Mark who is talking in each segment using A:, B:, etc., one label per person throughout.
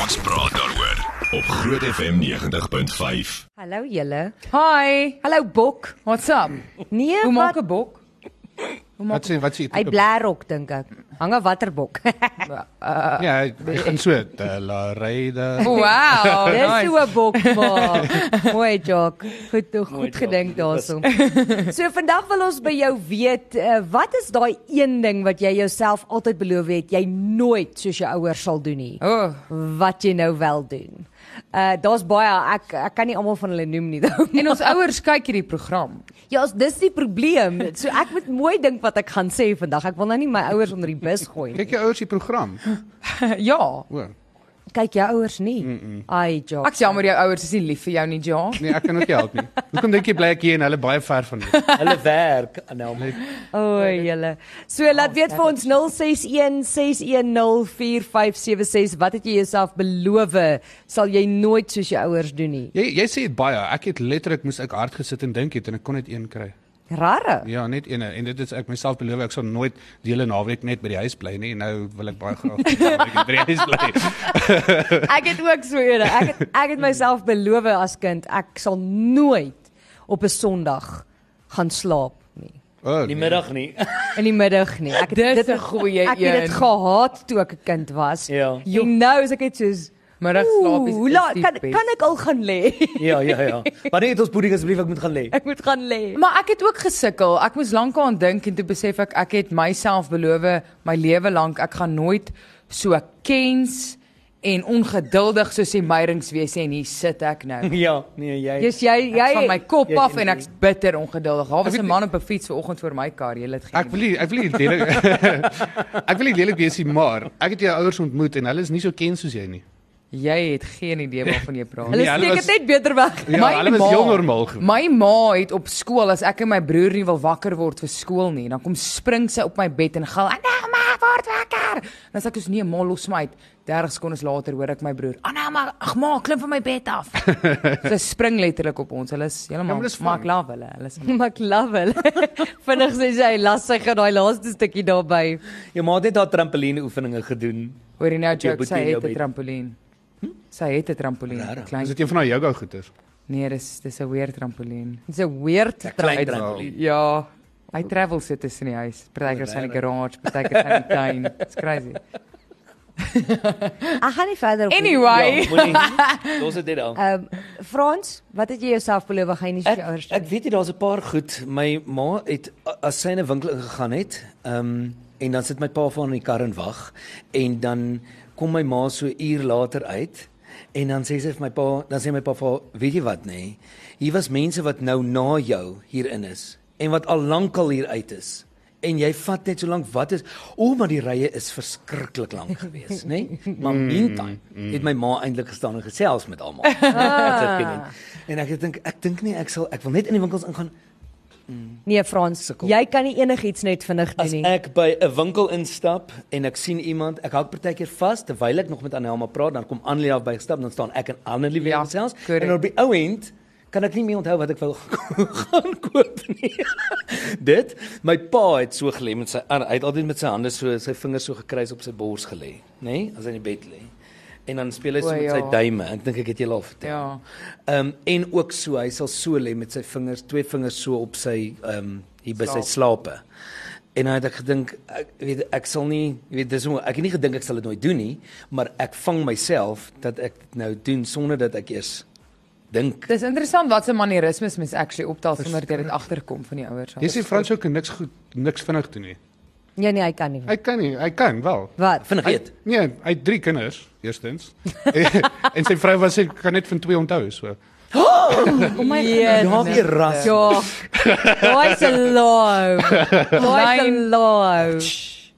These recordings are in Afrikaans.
A: Ons praat daaroor op Groot FM 90.5.
B: Hallo julle.
C: Hi,
B: Hallo Bok.
C: what's up?
B: Nee,
C: Hoe maak
B: wat
C: 'n bok? Hoe maak
D: Wat sê wat sê
B: hy blærok dink ek. Hang 'n waterbok.
D: Ja, hy begin so te la ryde.
C: Wow,
B: Dis so
C: Oh, nice.
B: 'n bok maar. Mooi joke. Goed toe, goed gedink daarso. So vandag wil ons by jou weet, uh, wat is daai een ding wat jy jouself altyd beloof het jy nooit soos jou ouers sal doen nie?
C: Oh,
B: Wat jy nou wel doen. Uh daar's baie ek ek kan nie almal van hulle noem nie.
C: en ons ouers kyk hierdie program.
B: Ja, ons- dis die probleem. So ek moet mooi dink wat ek gaan sê vandag. Ek wil nou nie my ouers onder die bus gooi nie.
D: Kyk jou ouers die program.
C: ja.
D: O.
B: Kyk jou ouers nie. Mm -mm. Ai, Jock.
C: Ek sê jammer jou ouers is nie lief vir jou nie, Ja.
D: Nee, ek kan ook nie help nie. Hoekom dink jy bly ek hier en hulle baie ver van my?
E: Hulle werk ah, nou, aan hom.
B: Oei, julle. So laat weet vir ons 0616104576 wat het jy jouself beloof sal jy nooit soos jou ouers doen nie.
D: Jy jy sê dit baie. Ek het letterlik moes ek hard gesit en dink het en ek kon net een kry.
B: Rare.
D: Ja, net een en dit is ek myself beloof ek sal nooit die hele naweek net by die huis bly nie. Nou wil ek baie graag die naweek by die huis bly.
B: Ek het ook so eene. Ek het, ek het myself beloof as kind ek sal nooit op 'n Sondag gaan slaap nie.
D: O.
E: Die
D: nee.
E: middag nie.
B: In die middag nie. Ek het
C: Dis 'n goeie
B: Ek het dit
C: een.
B: gehaat toe ek 'n kind was.
E: Ja.
B: Jy nou is ek net soos
C: Middagslaap
B: Oeh,
C: is
B: hoe laat
C: die
B: kan
C: beste.
B: kan ek al gaan lê?
E: Ja, ja, ja. Wanneer het ons pudding asseblief ek moet gaan lê?
B: ek moet gaan lê.
C: Maar ek het ook gesukkel. Ek moes lankal aan dink en toe besef ek ek het myself beloof my lewe lank ek gaan nooit so kens en ongeduldig soos die meierings wees en hier sit ek nou.
E: Ja, nee, jy.
B: Jy's jy jy
C: Ek van my kop
E: Jy-
C: af en ek's bitter ongeduldig. Daar was
D: Ek weet
C: 'n man op 'n fiets vanoggend voor my kar. Jy het
D: Ek
C: geen
D: wil nie, ek wil nie lelik Ek wil nie lelik wees nie, maar ek het jou ouers ontmoet en hulle is nie so ken soos jy nie.
C: Jy het geen idee waarvan jy praat.
B: hulle
D: Nee, hulle
B: steek dit
D: was-
B: net beter weg.
D: Ja,
C: My
D: hulle was
C: ma-
D: heel normaal. goed.
C: My ma het op skool as ek en my broer nie wil wakker word vir skool nie, dan kom spring sy op my bed en gil, "Anna, ma, word wakker." Dan sê ek, "Ons nee, ma, los my uit." 30 sekondes later hoor ek my broer, "Anna, ma, ag ma, klim van my bed af." sy spring letterlik op ons. Hulle is
D: Ja,
C: heeltemal
D: maar dis
C: maar ek
D: fun.
C: love hulle. Hulle is
B: Maar ek love hulle. Vinnig sê sy las sy gaan daai laaste stukkie daarby.
E: Jou ma het net haar trampoline oefeninge gedoen.
C: hoor jy nou
E: Jou
C: joke, sy
E: boetie en jou
C: het 'n
E: bed.
C: trampolien. Sy het 'n trampolien. Klein.
D: Is dit een van daai yoga goeters?
C: Nee, dis dis 'n weer trampolien.
B: Dis 'n weird
E: Klein
B: trade.
E: trampoline.
C: Ja. Hy travel sit tussen die huis. Partykeer is hy in die garage, partykeer is hy in die tuin. It's crazy.
B: Ek gaan nie verder op.
C: Anyway,
E: Ja, moenie. Los dit net al.
B: Ehm Frans, wat het jy jouself beloof gaan jy nie soos
E: Ek,
B: jou ouers
E: ek
B: doen?
E: weet jy daar's 'n paar goed. My ma het a- as sy in 'n winkel ingegaan het, ehm um, en dan sit my pa voor in die kar en wag en dan kom my ma so 'n uur later uit en dan sê sy vir my pa, dan sê my pa vir haar, weet jy wat nê? Nee, hier was mense wat nou na jou hierin is en wat al lank al hier uit is. En jy vat net so lank wat is. O, maar die rye is verskriklik lank geweest, nê? Nee? Maar meantime het my ma eintlik gestaan en gesels met almal. Wat het gedoen? en ek het dink ek dink nie ek sal ek wil net in die winkels ingaan
B: Nee, Frans,
E: Sukkel.
B: jy kan nie enigiets net vinnig doen
E: As
B: nie.
E: ek by 'n winkel instap en ek sien iemand, ek hou partykeer vas terwyl ek nog met Anelma praat, dan kom Annelie daar by gestap, dan staan ek en Annelie weer
C: Ja,
E: ja, selfs
C: correct.
E: en op die ou end kan ek nie meer onthou wat ek wil gaan koop nie. Dit, my pa het so gelê met sy ar- hy het altyd met sy hande so sy vingers so gekruis op sy bors gelê, nê, nee? as hy in die bed lê. En dan speel hy so
C: O,
E: met sy
C: ja.
E: duime. Ek dink ek het julle al vertel.
C: Ja.
E: Ehm um, en ook so, hy sal so lê met sy vingers, twee vingers so op sy ehm um, hier by sy slape. En hy het ek gedink ek weet ek sal nie jy weet dis hoe ek het nie gedink ek sal dit nooit doen nie, maar ek vang myself dat ek dit nou doen sonder dat ek eers dink.
C: Dis interessant wat se manierismes mens actually optel sonder dat jy dit agterkom van die ouers. af.
D: Jy sê Frans ook niks goed, niks vinnig doen nie.
B: Ja nee, hy kan nie.
D: Hy kan nie, hy kan wel.
B: Wat?
E: Vinnig
D: Hy,
E: eet.
D: nee, hy het drie kinders, eerstens. Eh, en sy vrou was sy kan net van twee onthou, so.
B: Oh my
E: Ja,
B: god.
C: nee.
E: weer ras.
B: Ja. Daai se law. Daai se
C: Lyn.
B: law.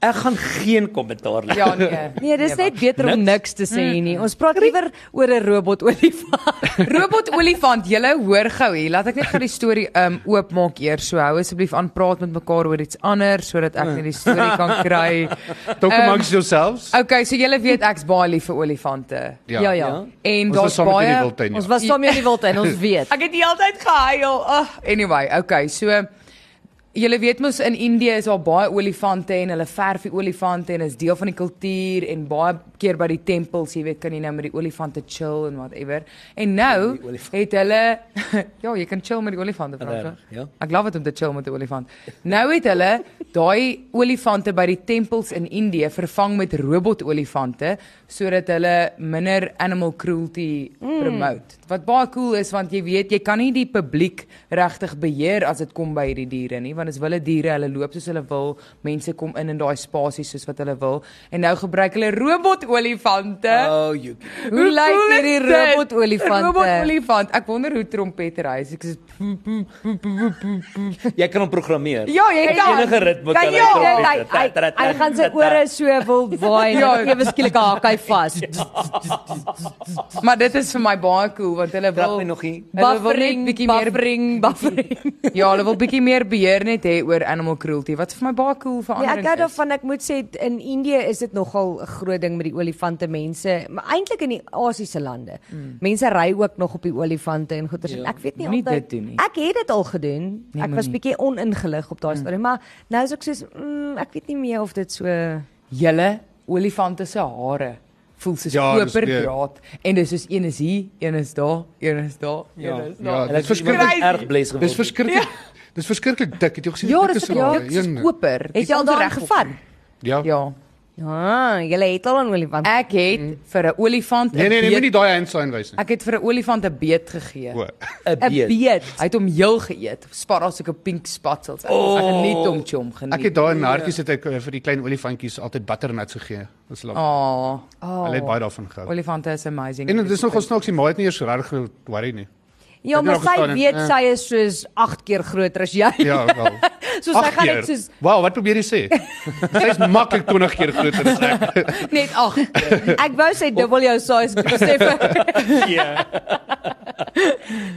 E: Ek gaan geen kommentaar lewer.
C: Ja nee.
B: Nee, dis net beter om
E: Niks.
B: niks te sê nie. Ons praat liewer oor 'n robot olifant.
C: Robot olifant, julle hoor gou hier. Laat ek net gou die storie um oopmaak eers. So hou asseblief aan praat met mekaar oor iets anders sodat ek net die storie kan kry.
D: Talk
C: Ehm,
D: amongst yourselves.
C: Okay, so julle weet ek's baie lief vir olifante.
B: Ja ja.
E: Ja.
C: En
D: Ons was
C: daar's
D: saam met
C: baie
D: die wildtuin. ja.
B: Ons was saam in die wild en ons weet.
C: Ek het die hele tyd gehuil. Ag, anyway, okay, so Julle weet mos in Indië is daar baie olifante en hulle verf die olifante en is deel van die kultuur en baie keer by die tempels, jy weet, kan jy nou met die olifante chill en whatever. En nou
E: Die olifant.
C: het hulle ja, jy kan chill met die olifante, Frank.
E: Regtig, ja.
C: Ek glo dit om te chill met 'n olifant. Nou het hulle daai olifante by die tempels in Indië vervang met robotolifante sodat hulle minder animal cruelty mm. promote. Wat baie cool is want jy weet jy kan nie die publiek regtig beheer as dit kom by hierdie diere nie want dit is wille diere, hulle loop soos hulle wil, mense kom in in daai spasies soos wat hulle wil en nou gebruik hulle robotolifante.
E: Oh, you.
B: Hoe lyk
C: cool is
B: hierdie
C: dit?
B: robotolifante?
C: Robotolifant. Ek wonder hoe trompeter hy is. Ek is
E: Jy kan hom programmeer.
C: Ja, jy kan.
E: Enige ritme
B: Kan
E: kan
B: jy
E: hy
B: hy
E: trompeter.
B: hy- hy- hy gaan sy ore so wil waai
C: Ja.
B: en ewe skielik haak hy vas.
C: Maar dit is vir my baie cool want hulle
E: Trap
C: wil
E: my nog nie.
C: Hulle wil net
B: Buffering,
C: bietjie meer
B: buffering, buffering.
C: ja, hulle wil bietjie meer beheer net hê oor animal cruelty wat vir my baie cool
B: Nee,
C: verandering
B: ek hou daarvan ek moet sê in Indië is dit nogal 'n groot ding met die olifante mense, maar eintlik in die Asiëse lande. Mm. Mense ry ook nog op die olifante en goeters. Ja. Ek weet nie
C: Moenie
B: altyd
C: dit doen nie.
B: Ek het dit al gedoen.
C: Nee,
B: Nee, ek was
C: moenie.
B: bietjie oningelig op daai storie, maar nou is ek soos mm, ek weet nie meer of dit so
C: Julle olifante se hare voel soos
D: Ja, dis
C: koperdraad en dis soos een is hier, een is daar, een is daar,
D: Ja,
C: een is
D: ja,
C: daar.
D: dit is verskriklik.
C: Crazy.
E: erg bles geword.
D: Dis verskriklik. Dis verskriklik dik. Het jy gesien
C: Ja,
D: hoe dik
C: dis
D: is
C: ja,
D: hulle?
C: dit is
D: Een-
C: koper.
B: Het
C: Dis
B: jy al daarin
C: onreg op-
B: gevat?
D: Ja.
C: Ja.
B: Ja, jy het al 'n olifant.
C: Ek het vir 'n olifant 'n
D: Mm. Nee nee nee,
C: beet-
D: moenie daai hand sign wys nie.
C: Ek het vir 'n olifant 'n beet gegee.
D: O.
E: 'n
B: 'n
E: beet.
B: beet.
C: Hy het hom heel geëet. Sparrels ek 'n pink spatsels. Ek, oh, ek geniet hom chom geniet.
D: Ek het daai in hartjies het ek eh, vir die klein olifantjies altyd butternuts gegee. Dis lekker.
C: Oh, oh.
D: Hulle het baie daarvan gehou.
C: Olifante is amazing.
D: En dit is nogal snaaks, die ma het nie eers regtig worry nie.
B: Ja,
D: Het jy
B: maar
D: nog
B: sy
D: gestaan en-
B: weet
D: eh.
B: sy is soos 8 keer groter as jy.
D: Ja, wel.
B: so sy gaan net soos
D: Wow, wat probeer jy sê? Sy's maklik 20 keer groter as ek.
C: net ag.
B: Ek wou sê dubbel jou size besef. Ja.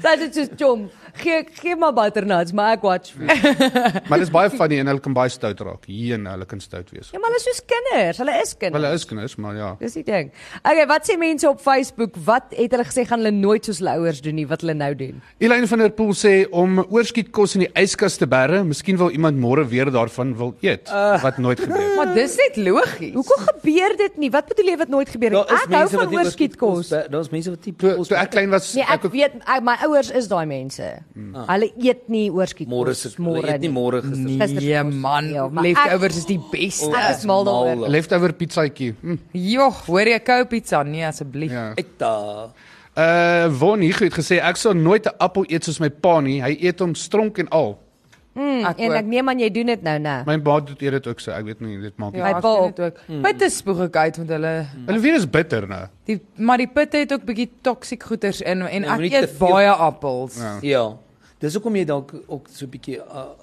B: Dit is just chom. Gee gee maar butternuts, maar ek watch. Ja,
D: Maar dis baie funny en hulle kan baie stout raak. Hier en hulle kan stout wees.
B: Ja, maar hulle is soos kinders. Hulle is kinders.
D: Hulle is kinders, maar ja.
B: Dis die ding. Okay, wat sê mense op Facebook? Wat het hulle gesê gaan hulle nooit soos hulle ouers doen nie wat hulle nou doen?
D: Elaine van der Pool sê om oorskiet kos in die yskas te bære, miskien wil iemand môre weer daarvan wil eet
B: Ah.
D: wat nooit gebeur het.
C: Maar dis net logies.
B: Hoekom gebeur dit nie? Wat bedoel jy wat nooit gebeur het? Ek hou van
E: nie
B: oorskietkos.
E: be- Daar's mense wat nie
D: Toe
E: kos
D: toe ek klein was,
B: Nee, ek
D: ook-
B: weet ek, my ouers is daai mense.
C: Ah.
B: Hulle eet nie oorskietkos
E: môre is môre eet nie môre gister.
B: gister
C: Nee
B: kos.
C: man,
B: Ja, maar
C: leftovers
B: ek-
C: is die beste.
B: Ek is mal daaroor.
E: Mal.
D: leftover pizzaatjie. Mm,
C: Jog, hoor jy kou pizza? Nee asseblief.
D: ja.
E: Ek da.
D: Uh Von hier het gesê ek sal nooit 'n appel eet soos my pa nie. Hy eet hom stronk en al.
C: Ek
B: Hmm, En
C: ook.
B: ek neem aan jy doen dit nou, né?
D: My ma doen dit ook so. Ek weet nie, dit maak nie.
C: Ja,
B: My
C: ek
B: pa
C: doen dit ook.
E: Hmm.
C: Pitte spoeg ek uit want hulle
D: Hulle weer is bitter nou.
C: die maar die pitte het ook bietjie toksiek goeters in en
E: Ja,
C: ek
E: moenie te
C: eet
E: veel-
C: baie appels.
E: Ja. Dis hoekom jy dalk ook so 'n bietjie uh,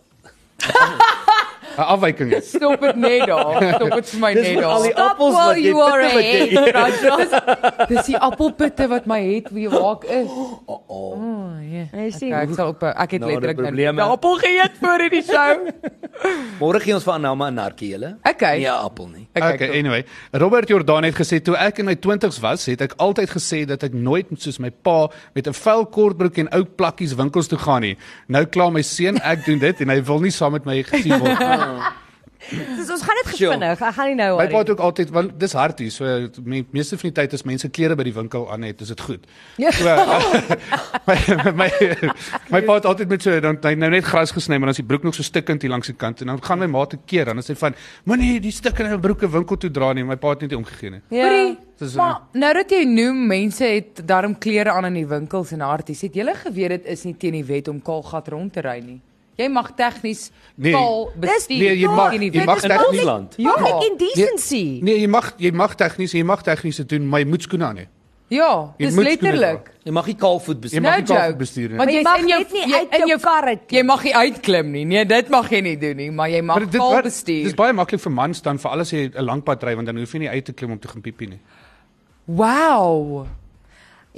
D: 'n Afwyking is.
C: Stop dit net daar. Stop dit vir my
E: Dis
C: net
E: al
C: daar.
E: die
B: Stop
E: appels
B: while
E: wat jy
B: you are
E: pitte wat jy
B: ahead,
C: Dis die appelpitte wat my het wie waak is. O ja.
B: Jy sien.
C: Ek sal op ek het
E: Nou,
C: letterlik nou
E: probleme.
C: die appel geëet vir hierdie show.
E: Môre gee ons vir Anama 'n narkie julle.
C: Okay.
E: Nee, 'n appel nie.
C: Ek kyk
D: Okay,
C: toe.
D: anyway, Robert Jordan het gesê toe ek in my 20's was, het ek altyd gesê dat ek nooit soos my pa met 'n vuil kortbroek en ou plakkies winkels toe gaan nie. Nou kla my seun ek doen dit en hy wil nie saam met my gesien word nie.
B: Dis ons gaan dit
E: Sure.
B: gevinnig. Ek gaan nie nou
D: My pa
B: hoor.
D: het ook altyd want dis hard hier, so me, meeste van die tyd as mense klere by die winkel aan het, is dit goed.
B: Ja.
D: So, my my my pa het altyd met so dan hy het nou net gras gesny, maar dan is die broek nog so stikkend hier langs die kant en dan gaan my ma te keer dan is hy van moenie die stikkende broeke winkel toe dra nie. My pa het net nie omgegee nie.
B: Ja.
C: Hoorie,
D: Dis, eh,
C: Maar nou dat jy noem mense het daarom klere aan in die winkels en harties. Het julle geweet dit is nie teen die wet om kaalgat rond te ry nie. Jy mag tegnies
D: Nee.
C: kaal
B: Dis
C: bestuur.
D: Nee, jy mag-
C: teen die
D: jy
C: wet.
D: mag
B: Dit
D: net
B: is
D: nie-
E: Land.
C: Ja.
B: Public indecency.
D: Nee, jy mag jy mag tegnies, jy mag tegnies dit doen, maar jy moet skoene aan hê.
C: Ja,
D: Jy
C: dis
D: moet
C: letterlik.
E: Jy mag nie kaalvoet bestuur.
D: Jy
E: nie.
D: mag
C: No
D: nie kaalvoet
C: joke.
D: bestuur nie.
C: Want
B: Maar jy
C: jy's
B: mag
C: in jou-
B: net nie
C: Nee, jy-
B: uit
C: in
B: jou
C: jou
B: kar uit klim.
C: Jy mag nie uitklim nie. Nee, dit mag jy nie doen nie, maar jy mag kaal bestuur.
D: dis baie maklik vir mans dan veral as jy 'n lang pad ry want dan hoef jy nie uit te klim om te gaan piepie nie.
C: Wow.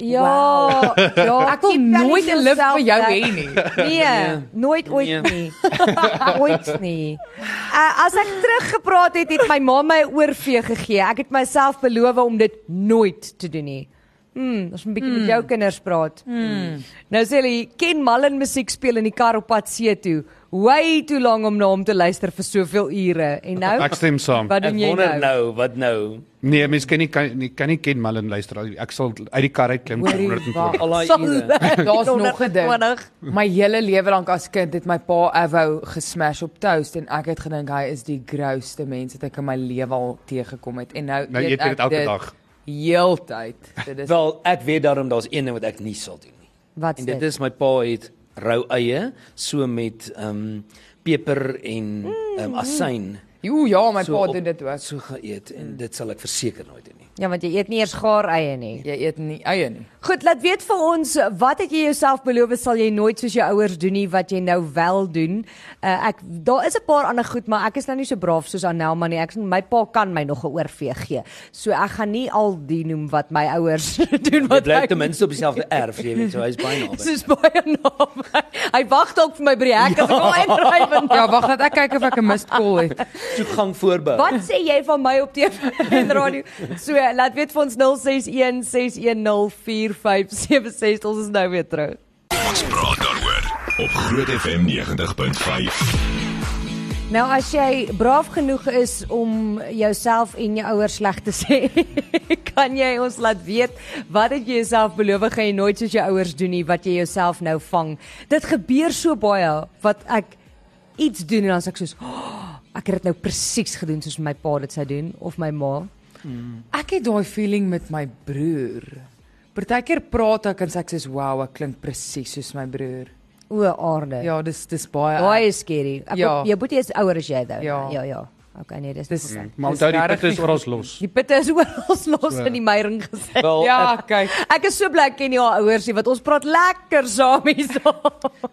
B: Ja,
C: Wow.
B: ja,
C: Ek wil nooit 'n lift vir jou hê nie.
B: Nee, nee, nooit ooit
E: Nee.
B: nie. ooit nie. Uh, as ek teruggepraat het, het my ma my oorvee gegee. Ek het myself beloof om dit nooit te doen nie. Mm, ons moet 'n bietjie
E: Hmm.
B: met jou kinders praat. Mm. Nou sê hulle ken Malin musiek speel in die kar op pad see toe. Way too lank om na hom te luister vir soveel ure. En nou
D: Ek stem saam.
B: Wat
E: Ek
B: doen jy nou?
E: wonder nou, wat nou?
D: Nee, mens kan nie kan nie, kan nie ken Malin luister. al- Ek sal uit die kar uit klim vir
C: Hoorie,
D: 120.
E: Al daai ure.
C: Daar's nog 'n ding.
B: 120.
C: My hele lewe lank as kind het my pa Avo gesmash op toast en ek het gedink hy is die grootste mens wat ek in my lewe al teëgekom het en nou,
D: Nou eet jy
C: ek
D: dit elke dag.
C: Heeltyd. Dit is
E: Wel, ek weet daarom daar's een ding wat ek nie sal doen nie.
B: Wat
E: En
B: is
E: dit
B: dit?
E: is my pa het rou eie so met ehm um, peper en ehm um, asyn.
C: Jo ja, my pa
E: op-
C: doen dit ook.
E: So geëet en dit sal ek verseker nooit doen nie.
B: Ja, want jy eet nie eers gaar eie nie.
C: Jy eet nie eie nie.
B: Goed, laat weet vir ons wat het jy jouself beloof sal jy nooit soos jou ouers doen nie wat jy nou wel doen. Uh, ek daar is 'n paar ander goed, maar ek is nou nie so braaf soos Anelma nie. Ek my pa kan my nog 'n oorvee gee. So ek gaan nie al die noem wat my ouers doen
E: Jy
B: wat
E: bly
B: ek
E: ten minste op dieselfde erf, jy weet, so hy's baie naby.
B: soos baie naby. Hy wag dalk vir my by die hek as ek hom inry
C: Ja,
B: vandag.
C: wag dat ek kyk of ek 'n missed call het.
E: Soek gang voorbou.
B: Wat sê jy van my op TV en radio? So laat weet vir ons 061 610 4576. Ons is nou weer terug.
A: Ons praat daaroor op Groot FM 90.5.
B: Nou as jy braaf genoeg is om jouself en jou ouers sleg te sê, kan jy ons laat weet wat het jy jouself beloof gaan jy nooit soos jou ouers doen nie, wat jy jouself nou vang. Dit gebeur so baie wat ek iets doen en dan sê ek soos, oh, ek het dit nou presies gedoen soos my pa dit sou doen of my ma.
C: Ek het daai feeling met my broer. Partykeer praat ek en sê ek sê wow, ek klink presies soos my broer.
B: O, aarde. Ja,
C: Ja, dis dis baie.
B: Daai is skerry. Ek ja.
C: Ja.
B: jou boetie is ouer as jy nou.
C: Ja.
B: ja. ja. Okay, nee, dis.
C: Dis
D: Mm. Maar
C: dis
D: onthou die
C: regtig
D: pit is
C: nie-
D: oral los.
B: Die pitte is oral los in die meiring gesit.
E: Wel,
C: Ja, kyk.
B: Ek is so bly ek ken jou ouers nie want ons praat lekker saam hierso.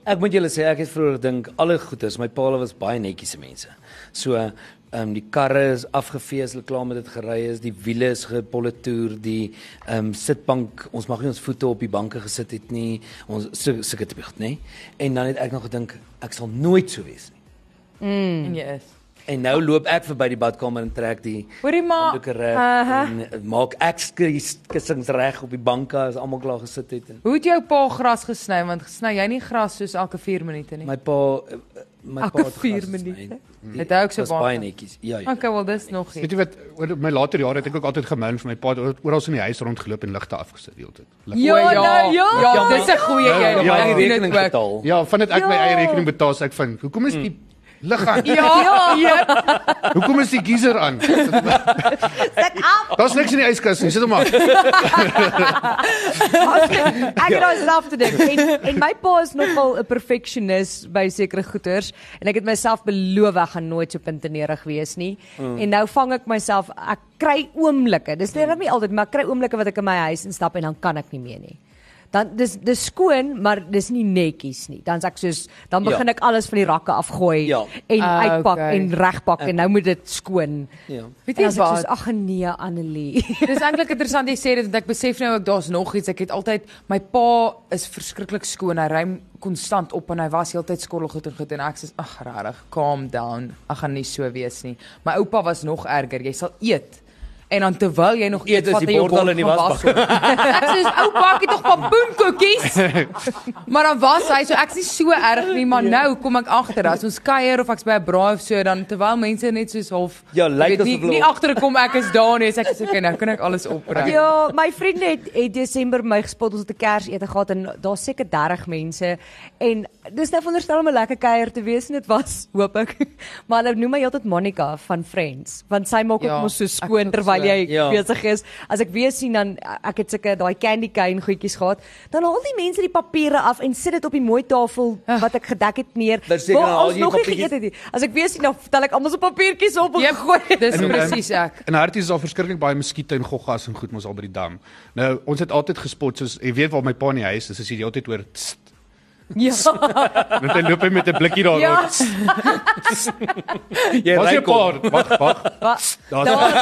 E: Ek moet julle sê ek het vroeër gedink alle goeders, my paal was baie netjiese mense. So ehm um, die karre is afgevee, as hulle klaar met dit gery is, die wiele is gepolitoer, die ehm um, sitbank, ons mag nie ons voete op die banke gesit het nie. Ons sulke sulke tipe goed, nê? En dan het ek nog gedink ek sal nooit so wees nie.
C: en jy is.
E: En nou loop ek verby die badkamer en trek die
C: Hoorie maar,
E: handdoeke reg uh -huh. en maak ek skries- kussings reg op die banke as almal klaar gesit het. En
C: hoe het jou pa gras gesny want gesny jy nie gras soos elke 4 minute nie.
E: my pa eh, my
C: Elke
E: pa het
C: vier
E: gras gesny.
C: minute.
E: Die-
C: Het hy ook so
E: was baie
C: baard?
E: netjies. Ja. ja.
C: Okay, wel dis nog
D: Weet
C: iets.
D: jy wat oor my later jare het ek ook altyd gemil vir my pa het oor- oral in die huis rondgeloop en ligte afgesit die hele tyd. Ligte.
B: Ja,
C: O,
B: nou, ja.
C: ja, dis 'n goeie
D: Ja,
C: jy.
E: Ja, maar hy
C: doen
E: het die
C: dit
E: rekening
C: ook.
E: betaal.
D: Ja, van dit ek my
B: Ja.
D: eie rekening betaal, sê ek van, hoekom is die lig aan?
C: Mm. Ja, ja.
D: Hoekom is die geyser aan?
B: Sit af.
D: Daar's niks in die yskas nie. Sit hom af.
B: Ek het myself te dink en en my pa is nogal 'n perfeksionis by sekere goeders en ek het myself beloof ek gaan nooit so puntenerig wees nie. Mm. En nou vang ek myself ek kry oomblikke. Dis
E: Mm.
B: nie dat nie altyd maar ek kry oomblikke wat ek in my huis instap en dan kan ek nie meer nie. Dan dis dis skoon, maar dis nie netjies nie. Dan's ek soos dan
E: Ja.
B: begin ek alles van die rakke afgooi
E: Ja.
B: en
C: Ah,
B: uitpak
C: okay.
B: en regpak en nou moet dit skoon.
E: Ja.
C: Weet
B: En
C: jy
B: as ek soos
C: wat?
B: ag nee Annelie.
C: Dis eintlik interessant jy sê dit want ek besef nou ek daar's nog iets. Ek het altyd my pa is verskriklik skoon. Hy ruim konstant op en hy was heeltyd skorrel goed en goed en ek sê ag regtig, calm down. Ek gaan nie so wees nie. My oupa was nog erger. Jy sal eet En dan terwyl jy nog
E: Eet
C: eet,
E: is
C: vat
E: die
C: hy jou
E: bord al in die
C: bord gaan
E: wasbak.
C: was. Ek sê oupa, ek het tog pompoenkoekies. Maar dan was hy so ek's nie so erg nie,
E: Ja.
C: maar nou kom ek agter as ons kuier of ek's by 'n braai of so dan terwyl mense net soos half
E: Ja, lyk
C: jy weet,
E: asof
C: nie,
E: hulle
C: nie
E: op-
C: agter kom ek is daar nie, so ek sê okay, nou kan ek alles opruim.
B: Ja, my vriende het, het Desember my gespot ons het 'n Kersete gehad en daar seker 30 mense en dis nou veronderstel om 'n lekker kuier te wees en dit was, hoop ek. Maar hulle noem my heeltyd Monica van Friends want sy maak ook
C: Ja,
B: mos so
C: ek
B: skoon
C: ook
B: terwyl
C: so.
B: jy
E: Ja.
B: besig is. As ek weer sien dan ek het seker daai candy cane goedjies gehad, dan haal die mense die papiere af en sit dit op die mooi tafel wat ek gedek het neer.
E: Ah. Daar seker
B: waar
E: al
B: ons
E: die
B: nog nie
E: papiertjies- Ja.
B: geëet het nie. As ek weer sien dan tel ek almal se papiertjies op en
C: Jep,
B: gooi.
C: dis
D: En-
C: presies ek.
D: In Harties is daar verskriklik baie muskiete en goggas en goed mos al by die dam. Nou, ons het altyd gespot soos jy weet waar my pa in die huis is, as jy die hele tyd hoor. tst,
B: Ja.
D: En dan loop hy met 'n blikkie daar
B: Ja.
D: rond. tst,
E: Jy
D: Waar's
E: ry
D: jou
E: kom.
D: pa? Wag, wag.
B: Wa-
D: Daar's
B: Daar.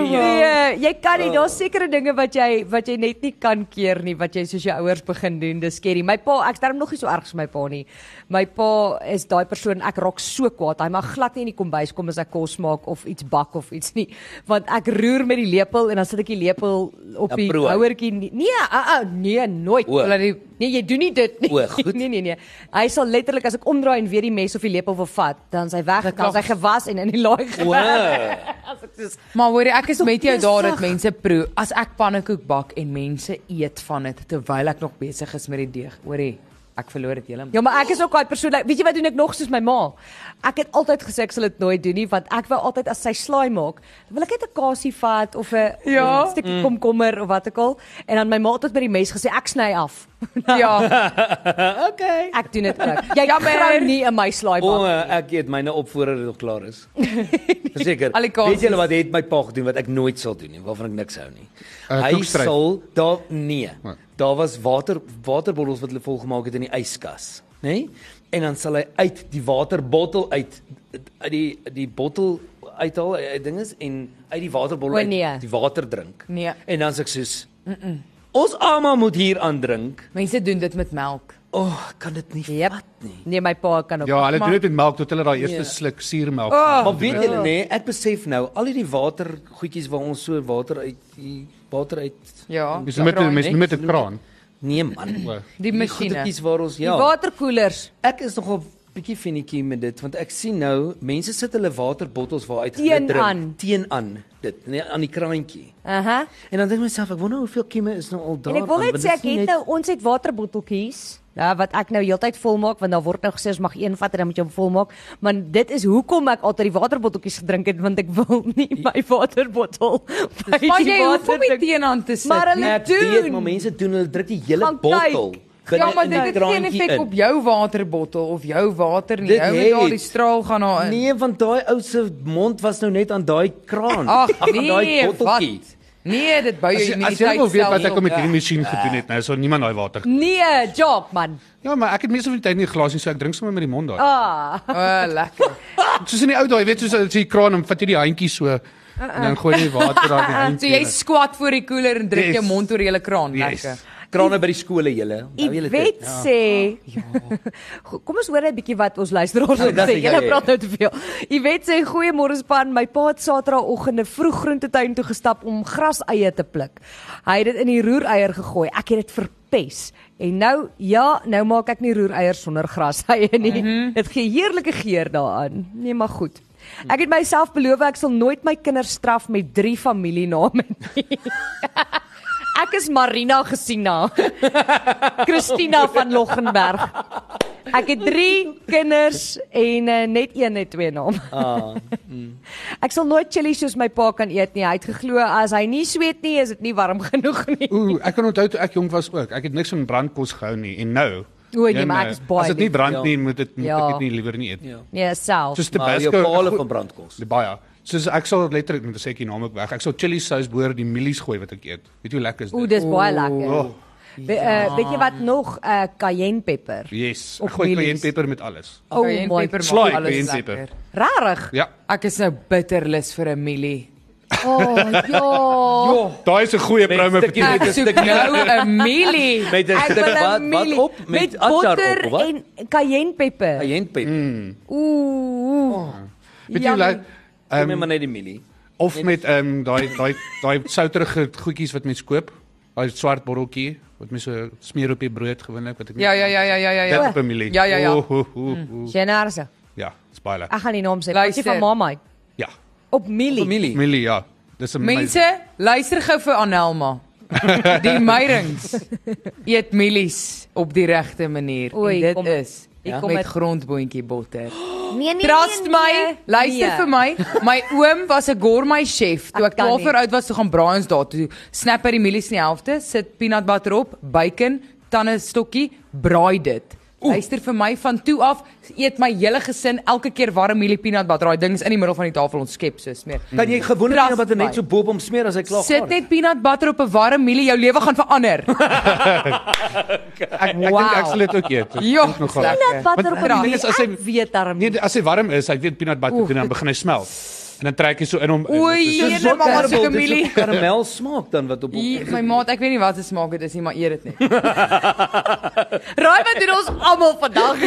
B: Nee, jy kan nie. Daar's sekere dinge wat jy wat jy net nie kan keer nie wat jy soos jou ouers begin doen. Dis skerry. My pa, ek's darm nog nie so erg soos my pa nie. My pa is daai persoon ek raak so kwaad. Hy mag glad nie in die kombuis kom as ek kos maak of iets bak of iets nie, want ek roer met die lepel en dan sit ek die lepel op
E: Dan
B: die
E: proe hy.
B: houertjie. nie. Nee, uh, uh, nee, nooit.
E: O.
B: Wil hy nie- Nee, jy doen nie dit nie.
E: O, goed.
B: nee, nee, nee. Hy sal letterlik as ek omdraai en weer die mes of die lepel wil vat, dan is hy weg, dan is hy gewas en in die laai
E: Wow.
C: Maar hoor jy, ek is met jou
B: te
C: daar dat
B: sag.
C: mense proe. As ek pannekoek bak en mense eet van dit terwyl ek nog besig is met die deeg, hoor jy, ek verloor dit heeltemal.
B: Ja, maar ek is ook daai persoon. like, Weet jy wat doen ek nog soos my ma? Ek het altyd gesê ek sal dit nooit doen nie, want ek wou altyd as sy slaai maak, wil ek net 'n kasie vat of 'n
C: Ja.
B: ja.
E: Mm.
B: stukkie komkommer of wat ook al. En dan my ma het tot by die mes gesê ek sny af. Nou,
C: Ja. ja.
E: okay.
B: Ek doen dit ook. Jy grou nie in my slaai
E: O,
B: maak.
E: ek eet myne op voordat dit nog klaar is. Verseker.
C: Al die kaasies.
E: Weet julle wat het my pa gedoen wat ek nooit sal doen nie, waarvan ek niks hou nie.
D: Uh,
E: hy
D: koekstryf.
E: sal daar nee.
D: Wat?
E: Daar was water waterbottels wat hulle vol gemaak het in die yskas, nê? Nee? En dan sal hy uit die waterbottel uit uit die die bottel uithaal, die ding is en uit die waterbottel
B: O,
E: uit
B: nee.
E: die water drink.
C: Nee.
E: En dan sê ek soos mm -mm. Ons almal moet hier aandrink.
C: Mense doen dit met melk.
E: O, oh, ek kan dit nie
B: Jep.
E: vat nie.
B: Nee, my pa kan ook.
D: Ja, hulle
C: Maar-
D: doen dit met melk tot hulle daai eerste
E: Ja.
D: sluk suurmelk.
C: Oh.
E: Maar weet julle nê, ek besef nou al hierdie water goedjies waar ons so water uit die water uit
C: Ja.
D: Dis met
C: Draai
D: mens
C: net.
D: doen met 'n kraan.
E: nee man.
D: O.
C: die masjiene.
E: Goedjies waar ons
B: Die
E: ja.
B: waterkoelers.
E: Ek is nogal bietjie vinnetjie met dit want ek sien nou mense sit hulle waterbottels waar uit
B: Teen
E: hulle drink,
B: aan.
E: teen aan dit nee, aan die kraantjie.
B: Aha.
E: En dan dink ek myself ek wonder hoeveel kieme is nou al
B: En
E: daar.
B: ek wil
E: aan,
B: net
E: want
B: sê ek
E: dit is nie
B: het nou ons het waterbotteltjies. Ja, wat ek nou heeltyd vol maak want daar word nou gesê ons mag een vat en dan moet jy hom vol maak, maar dit is hoekom ek altyd die waterbotteltjies gedrink het want ek wil nie my waterbottel by die
C: Maar jy hoef
B: water
C: hom nie
B: drink.
C: teenoor te sit. nee.
B: Maar hulle
E: Ek Nee, weet
B: doen.
E: maar mense doen hulle druk die hele
B: Gaan kyk.
E: bottel. binne
C: Ja, maar
E: in
C: dit
E: die
C: het geen
E: kraantjie
C: effek
E: in.
C: op jou waterbottel of jou water nie.
E: Dit
C: Jou met daardie
E: het.
C: straal gaan daarin.
E: Nee, want daai ou se mond was nou net aan daai kraan.
C: Ag
E: aan
C: nee, wat? Nee, dit bou
D: As
C: jou
D: jy as jy wil weet wat ek
C: immuniteitsstelsel
D: al met
C: op. ja.
D: hierdie masjien gedoen het, nou sal niemand daai water.
B: Nee, job man.
D: Ja, maar ek het meestal van die tyd nie 'n glasie so ek drink sommer met die mond daai.
B: Ah,
C: O, lekker.
D: Soos in die ou dae, jy weet soos as jy kraan en vat jy die handjie so
B: Uh-uh.
D: en dan gooi jy die water daar in die
C: So
D: handjie.
C: Ah, jy squat voor die koeler en druk
D: Yes.
C: jou mond oor die hele kraan,
D: Yes.
C: lekker.
E: Krane by die skole julle. Onthou julle dit?
B: Iwet sê. Goed, Kom ons hoor 'n bietjie wat ons luisteraars
E: Ja,
B: ook
E: dat
B: sê.
E: is jy.
B: Julle praat nou te veel. Iwet sê goeiemôre span. My pa het Saterdagoggende vroeg groentetuin toe gestap om graseie te pluk. Hy het dit in die roereier gegooi. Ek het dit verpes. En nou ja, nou maak ek nie roereier sonder graseie nie. Dit gee heerlike geur daaraan. Nee, maar goed. Ek het myself beloof ek sal nooit my kinders straf met drie familiename nie. Ek is Marina Gesina. Christina van Loggenberg. Ek het 3 kinders en uh, net een het twee name.
E: Ah,
B: Ek sal nooit chili soos my pa kan eet nie. Hy het geglo as hy nie sweet nie, is dit nie warm genoeg nie.
D: Ooh, ek kan onthou toe ek jonk was ook. Ek het niks van brandkos gehou nie en nou.
B: O, nee,
D: ja,
B: maar ek
D: nou,
B: is baie
D: As dit nie
B: lief.
D: brand
E: Ja.
D: nie, moet dit moet
B: Ja.
D: ek dit nie liewer nie eet.
E: ja.
B: Nee, self.
D: Soos
E: Maar jou
D: Tabasco.
E: paal
D: gooi-
E: van brandkos.
D: Die baie. Soos ek sal letterlik moet sê ek die naam ook weg. Ek sal chili sous boor die mielies gooi wat ek eet. Weet jy hoe lekker is dit?
B: O, dis baie lekker.
D: Oh,
B: Be,
E: Ja.
B: uh, weet jy wat nog? Uh, cayenne peper.
D: yes.
B: Op
D: Ek gooi
B: mielies.
D: cayenne peper met alles.
B: Oh
C: Cayenne
B: my.
C: pepper maak
D: Slaai,
C: alles
D: cayenne
C: lekker.
D: pepper.
B: Rarig.
D: Ja.
C: Ek is nou bitterlus vir 'n mielie.
B: O, oh, ja.
E: Jo,
D: Daai is 'n goeie promo vir
E: stukkie
D: chili.
E: met-
C: Ek
E: is
C: soek
E: stuk-
C: nou 'n mielie.
E: met 'n
B: Ek
E: stuk
B: wil 'n
E: wat wat
B: mielie.
E: op met,
B: met
E: atar
B: botter
E: op, wat?
B: en cayenne peper.
E: Ajenpeper. Mm,
B: Ooh.
D: Weet jy hoe Ehm,
B: Yummy.
D: lekker
E: um, met maar net die mielie.
C: Nee,
D: of met ehm um, daai daai daai souterige goedjies wat mens koop. Daai swart botteltjie wat mens so smeer op die brood gewoonlik wat ek
C: Ja, ja, ja, ja, ja, ja,
D: Dit
C: ja.
D: op 'n mielie.
C: Ja, ja, ja.
E: Oh,
C: Ah.
D: O, o, o, o.
B: Genarse.
D: Ja, dis baie lekker.
B: Ek gaan die naam sê. Wat is die van
C: Luister.
B: mamma?
D: Ja.
B: Op Millie.
E: Familie.
D: Mielie, ja. Dis 'n
C: Mense, luister gou vir Anelma. Die meirings eet mielies op die regte manier.
B: Oei,
C: en dit
B: kom-
C: is
B: hier
C: ja,
B: kom
C: met
B: het-
C: grondboontjie botter.
B: Nee, nee,
C: Trust my, luister vir my. My oom was 'n gourmet chef. Toe
B: Ek
C: Nee. ek
B: kan
C: 12
B: nie.
C: jaar oud was, toe gaan braai ons daar toe. Snap uit die mielies in die helfte, sit peanut butter op, bacon, tande stokkie, braai dit. Luister vir my van toe af, eet my hele gesin elke keer warm mielie peanut butter. Daai ding is in die middel van die tafel ons skep so smeer.
E: Kan jy gewonder
C: Trust
E: nie wat hy net
C: my.
E: so boop om smeer as hy klaar
C: Sit net peanut butter op 'n warm mielie, jou lewe gaan verander.
D: Ek ek dink ek sal dit ook eet. Dit
C: Ja,
D: klink nogal
C: dis
D: lekker.
C: lekker.
B: Peanut butter
D: Want
B: op
D: die ding
B: die
D: is, as hy-
B: ek weet daarom.
D: Nee,
B: nie.
D: as hy warm is, hy weet peanut butter doen dan begin hy smelt. En dan trek jy so in hom in.
C: Oei,
D: Dit is-
C: jene, maar
E: so
C: wat
E: karamel,
C: soek
E: dit is so
C: Emilie?
E: Karamel smaak dan wat op
C: Hier, my maat, ek weet nie wat se smaak dit is nie, maar eet dit net.
B: Raai wat doen ons almal vandag?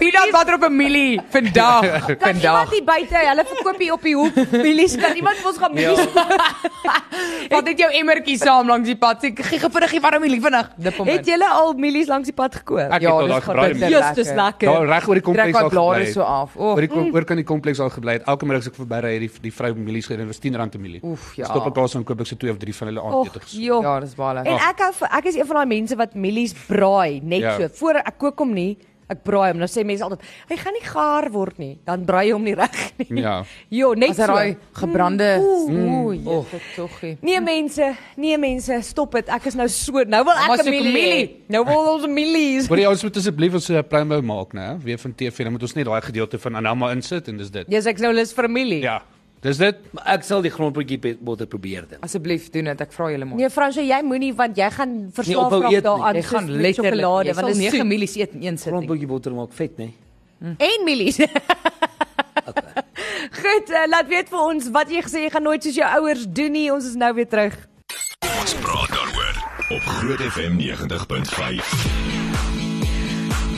C: Peanut butter op Emilie vandag,
B: Kan iemand
C: vandag.
B: hier buite, hulle verkoop hier op die hoek mielies, kan iemand vir ons
D: Ja,
B: gaan mielies?
C: Wat het jou emmertjie saam langs die pad? Ek gee vinnig hier warm Emilie vinnig. Dip hom
B: Het
C: in.
B: julle al mielies langs die pad gekoop?
D: Ek het al
C: dis
D: daar gebraai.
C: gebitter.
D: man.
B: Jesus, dis
D: Daar
B: lekker.
D: reg oor die
C: Trek
D: kompleks
C: my
D: al gebly.
C: blare so af. Mm. O,
D: Oor die kom- oor kan die kompleks al gebly het. Elke middag as ek verby ry, het die die vrou mielies gedin, was R10 'n mielie.
C: Oef, ja.
D: Stop ek daar so en koop ek so twee of drie van hulle aandete
B: Och,
D: gesoek.
B: joh.
C: ja, dis baie
B: En
C: lekker.
B: ek hou van- ek is een van daai mense wat mielies braai net
D: Ja.
B: so. Voor ek kook hom nie, ek braai hom. Nou sê mense altyd, hy gaan nie gaar word nie. Dan braai jy hom nie reg nie.
D: Ja.
B: Jo, net
C: As hy
B: so. Mm,
C: daai gebrande Mm.
B: Oeh.
C: o, toggie.
B: Nee mense, nee mense, stop dit. Ek is nou so. Nou wil
C: Mamma
B: ek 'n
C: soek
B: mielie.
C: mielie.
B: hê. Nou wil ons 'n mielies.
D: Wil jy ons moet asseblief ons 'n promo maak, né? Weer van TV, dan moet ons net daai gedeelte van Anama insit en dis dit.
B: Jy's ek nou lus vir 'n mielie.
D: Ja. Dis dit.
E: Maar ek sal die grondpotjie pe- botter probeer ding.
C: Asseblief doen dit, ek vra julle maar.
B: Nee Fransjo, jy moenie want jy gaan verslaaf
E: ophou
B: raak
E: eet nie.
B: daaraan.
C: Jy gaan
B: soos met
C: letterlik
B: sjokolade
C: jy
B: want
C: sal
B: dit is
C: 9
B: soet.
C: mielies eet in een sitting.
E: Grondpotjie botter maak vet, né?
B: En mielies. Goed, uh, laat weet vir ons wat jy gesê jy gaan nooit soos jou ouers doen nie. Ons is nou weer terug.
A: Ons praat daaroor op Groot FM 90.5.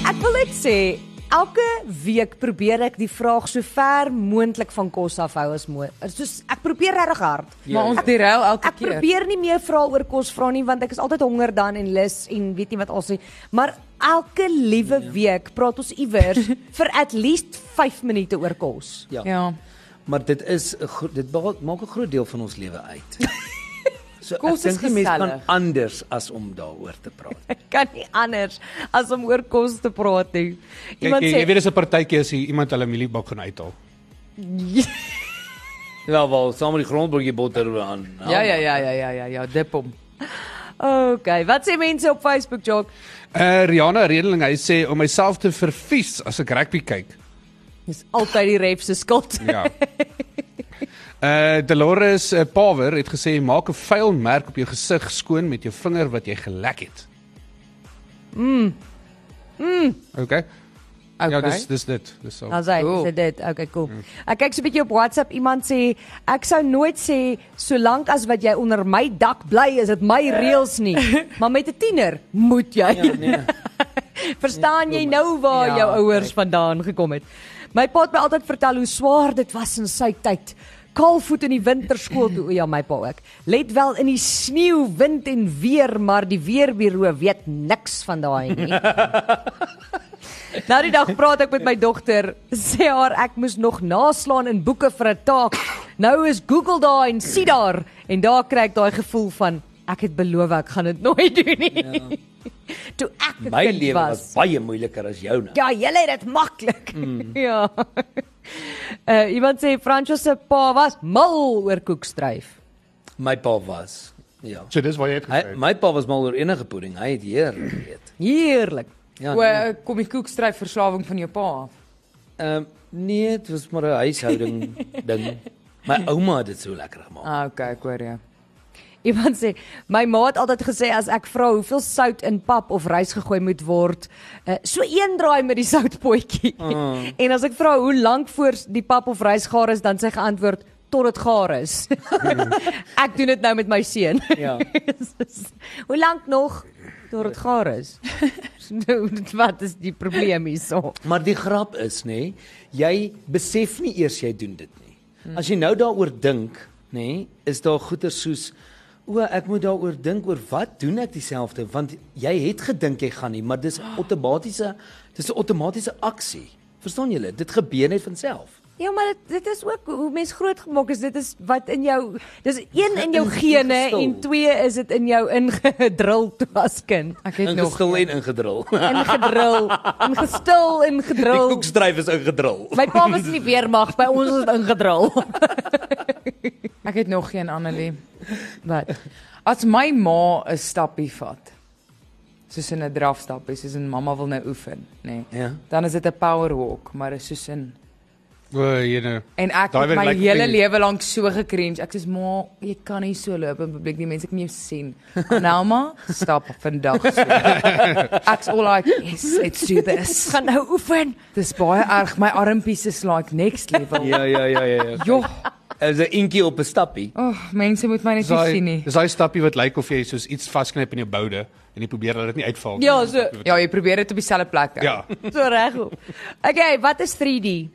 B: Ek wil net sê elke week probeer ek die vraag so ver moontlik van kos af hou as moontlik. Soos ek probeer regtig hard.
C: Maar ons derail elke
B: Ek
C: keer.
B: probeer nie meer vra oor kos vra nie want ek is altyd honger dan en lus en weet nie wat alsi. Maar elke liewe week praat ons iewers vir at least 5 minute oor kos.
E: Ja.
C: Ja.
E: Maar dit is 'n gro- dit ba- maak 'n groot deel van ons lewe uit. So
C: Kos
E: ek
C: is
E: dink nie mense kan
C: gesellig.
E: anders as om daaroor te praat.
B: Ek kan nie anders as om oor kos te praat nie.
D: Kyk,
B: Iemand
D: jy, jy
B: sê
D: weet dis 'n partytjie as jy iemand hulle mieliebak gaan uithaal.
E: Ja, wel, saam met die grondpotjie botter er aan.
C: Ja ja ja ja ja ja ja, dip hom.
B: Okay, wat sê mense op Facebook, Jock?
D: Eh uh, Rihanna Redeling, hy sê om myself te vervies as ek rugby kyk.
B: Dis altyd die ref se skuld.
D: Ja. Eh uh, Dolores uh, Power het gesê maak 'n vuil merk op jou gesig skoon met jou vinger wat jy gelek het. Mm. Mm. Okay. okay. Ja, dis
C: Okay.
D: dis dit. Dis al.
B: Dan sê
C: Cool.
B: sê dit. Okay, cool. Ek kyk so 'n bietjie op WhatsApp. Iemand sê ek sou nooit sê solank as wat jy onder my dak bly, is dit my reëls nie. Maar met 'n tiener moet jy.
E: Ja, nee.
B: Verstaan jy nou waar
C: Ja,
B: jou ouers vandaan gekom het? My pa het my altyd vertel hoe swaar dit was in sy tyd. Kaalvoet in die winterskool toe, o ja, my pa ook. Let wel in die sneeu, wind en weer, maar die weerbureau weet niks van daai nie. Nou die dag praat ek met my dogter. Sê haar ek moes nog naslaan in boeke vir 'n taak. Nou is Google daar en sien daar en daar kry ek daai gevoel van ek het beloof ek gaan dit nooit doen nie. Ja. Toe ek 'n
E: My
B: kind
E: lewe was baie moeiliker as joune.
B: Ja, julle het dit maklik. Mm. ja. Uh, iemand sê Francois se pa was mal oor koekstryf.
E: My pa was. Ja.
D: So dis waar jy het
E: Hy
D: gekry.
E: my pa was mal oor enige pudding. Hy het heerlik geëet.
B: Heerlik.
E: Ja.
C: O, eh,
E: nee.
C: kom die koekstryf verslawing van jou pa af.
E: Ehm um, nee, dit was maar 'n huishouding ding. My ouma het dit so lekker gemaak.
C: Ah, okay, ek hoor jou.
B: Iemand sê my ma het altyd gesê as ek vra hoeveel sout in pap of rys gegooi moet word, uh, so een draai met die soutpotjie. Mm. en as ek vra hoe lank voor die pap of rys gaar is, dan sê geantwoord tot dit gaar is. ek doen dit nou met my seun.
E: Ja.
B: hoe lank nog tot dit gaar is? nou, wat is die probleem hierso?
E: Maar die grap is nê, jy besef nie eers jy doen dit nie. As jy nou daaroor dink, nê, is daar goeie soos o, ek moet daaroor dink oor wat doen ek dieselfde want jy het gedink jy gaan nie, maar dis outomatiese dis 'n outomatiese aksie. Verstaan julle? Dit gebeur net van self.
B: Ja, maar dit, dit is ook hoe mens grootgemaak is. Dit is wat in jou dis een in jou gene
E: Ingestel.
B: en twee is dit in jou ingedrul toe as kind.
C: Ek het nog
E: Ingestel en ingedrul. Nou- die
B: Ingedrul, ingestil en gedrul.
E: koekstryf is ingedrul.
B: My pa was in die weermag, by ons is dit ingedrul.
C: ek het nog geen Annelie.
B: Wat?
C: As my ma 'n stappie vat, soos in 'n drafstappie, soos in mamma wil nou oefen, nê. Nee,
E: Ja.
C: Dan is dit 'n power walk, maar is soos in
D: O, jy nou.
C: en ek
D: Daai
C: het
D: wil
C: my
D: lyk
C: hele
D: cringe.
C: lewe lank so gekringe. Ek sê ma, jy kan nie so loop in publiek nie, mense kan jou sien. Nauma, stap vandag. So. Ek's all like, yes, let's do this.
B: Gaan nou oefen.
C: Dis baie erg. My armpies is like next level.
E: ja, ja, ja, ja.
C: Joh,
E: Is 'n intjie op 'n stappie.
C: Oh, mense moet my net nie sien nie.
D: Dis daai stappie wat lyk of jy soos iets vasknyp in jou boude en jy probeer dat dit nie uitval nie.
B: Ja, so
C: Ja, jy probeer dit op dieselfde plek. hou.
D: Ja.
B: so reg op. Okay, wat is 3D?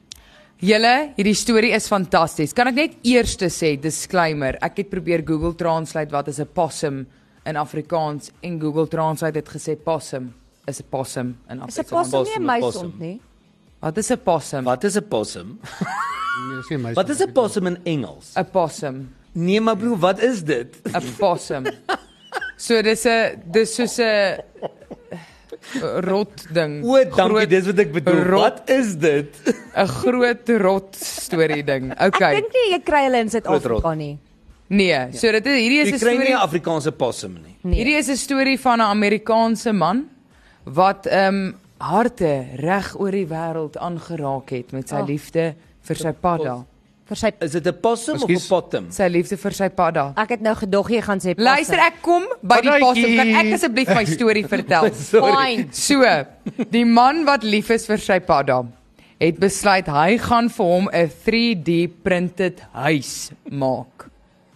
C: Julle, hierdie storie is fantasties. Kan ek net eers sê disclaimer. Ek het probeer Google Translate wat is 'n possum in Afrikaans en Google Translate het gesê possum is 'n possum
B: Is
C: in
B: 'n
C: Afrikaans.
B: possum nie 'n
E: possum, 'n possum.
B: muisond nie?
C: Wat is 'n possum?
E: Wat is 'n possum?
D: Nee, sien my.
E: Wat is 'n possum in Engels?
C: 'n possum?
E: Nee, maar broer, wat is dit?
C: 'n possum. So dis 'n dis soos 'n rot ding.
E: O, dankie,
C: Groot-
E: dis wat ek bedoel.
C: rot-
E: Wat is dit?
C: 'n groot rot storie ding.
B: Ek
C: Okay.
B: dink nie jy kry hulle in Suid-Afrika
E: Grootrot.
B: nie.
C: Nee, so dit is hierdie is
E: Jy
C: 'n
E: kry nie
C: storie.
E: 'n Afrikaanse possum nie.
B: Nee.
C: Hierdie is 'n storie van 'n Amerikaanse man wat ehm um, harte reg oor die wêreld aangeraak het met sy
B: Ah.
C: liefde vir sy padda.
B: vir sy
E: Is dit 'n possum of 'n
D: Ekskuus.
E: pottum?
C: Sy liefde vir sy padda.
B: Ek het nou gedog jy gaan sê possum.
C: Luister, ek kom by die possum. Kan ek asseblief my storie vertel?
B: fyn.
C: So, die man wat lief is vir sy padda, het besluit hy gaan vir hom 'n 3D printed huis maak.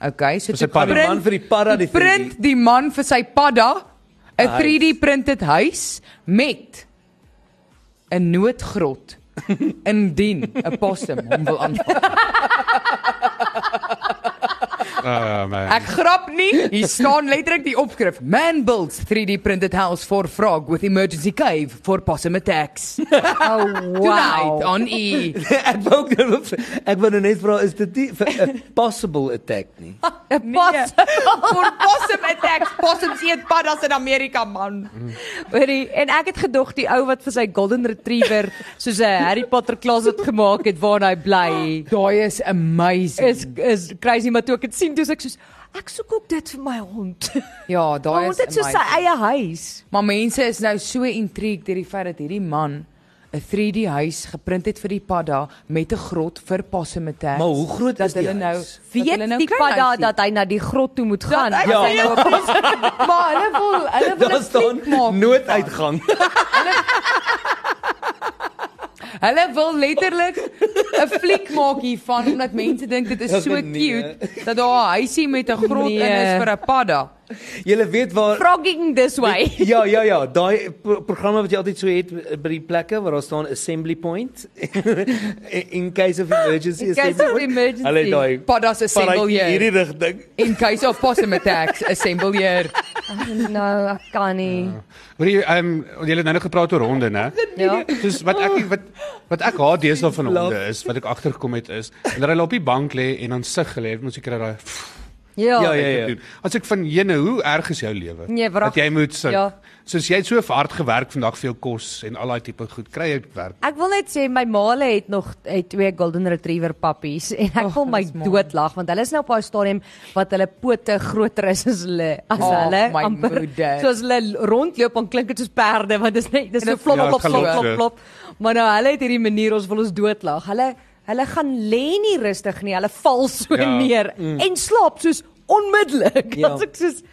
C: Okay, so
D: Vir sy
C: toe
D: padda.
E: Die man vir die padda die 3D.
C: print die man vir sy padda 'n
E: Huis.
C: 3D printed huis met 'n noodgrot indien 'n possum hom wil aanval.
D: Uh, man.
C: Ek grap nie. Hier staan letterlik die opskrif: Man builds 3D printed house for frog with emergency cave for possum attacks.
B: Oh
C: Tonight
B: wow.
C: on E.
E: ek wou ook nou ek wou nou net vra is dit nie vir 'n possible attack nie.
B: 'n
C: Nee.
B: Possum.
C: Voor possum attacks, possums eet paddas in Amerika man.
B: Hoorie, en ek het gedog die ou wat vir sy golden retriever soos 'n Harry Potter closet gemaak het waarin hy bly.
C: Daai is amazing.
B: Is is crazy maar toe ek dit sien, toe is ek soos ek soek ook dit vir my hond.
C: ja,
B: Maar
C: daai
B: hond
C: is
B: het so sy
C: amazing.
B: eie huis.
C: Maar mense is nou so intrigued deur die feit dat hierdie man 'n 3D huis geprint het vir die padda met 'n grot vir possum attacks.
E: Maar hoe groot
C: dat
E: is die
C: hulle nou
E: huis?
C: dat
B: Weet
C: hulle nou
B: die
C: klein
B: padda
C: huisie-
B: dat hy na die grot toe moet gaan. as
C: ek
B: hy
C: weet.
B: nou 'n pos-
C: maar hulle wil hulle wil
E: Ja. Daar
C: 'n fliek maak.
E: staan nooduitgang.
C: Hulle wil letterlik 'n fliek maak hiervan omdat mense dink dit is so
E: Ag, nee.
C: cute dat daar 'n huisie met 'n grot in
B: Nee.
C: is vir 'n padda.
E: Jy weet waar
B: frogging this way.
E: Ja, ja, ja, daai pro programme wat jy altyd so het eh, by die plekke waar daar staan assembly point in case of emergency
B: In case of
E: assembly point.
B: emergency.
E: Hulle het daai
C: Paddas assemble
E: paraatjie
C: hier
E: hierdie rigting.
C: in case of possum attacks assemble hier.
B: nou, ek kan nie.
D: Hoor jy, ehm um, jy het nou net gepraat oor honde, né?
B: Ja.
D: Soos wat ek wat wat ek haat deesdae van honde is, wat ek agterkom het is, hulle hulle op die bank lê en dan sug hulle, moet seker daai
B: Ja.
E: Ja, ja,
D: doen. As ek van jene, hoe erg is jou lewe?
B: Nee,
D: dat
B: wragtig.
D: jy moet sug.
B: Ja.
D: Soos jy het so hard gewerk vandag vir jou kos en al daai tipe goed, kry jy werk.
B: Ek wil net sê my maale het nog het twee golden retriever pappies en ek
C: Och,
B: wil my
C: Oh, dis mooi.
B: doodlag want hulle is nou op daai stadium wat hulle pote groter is as hulle as
C: Och,
B: hulle
C: Oh, my moeder.
B: soos hulle rondloop en klink dit soos perde want dis net dis so flop
D: Ja,
B: flop
D: het
B: flop
D: gelop
B: flop
D: so.
B: flop maar nou hulle het hierdie manier ons wil ons doodlag hulle hulle gaan lê nie rustig nie hulle val so
D: Ja.
B: neer
C: Mm.
B: en slaap soos onmiddellik
E: Ja.
B: as ek soos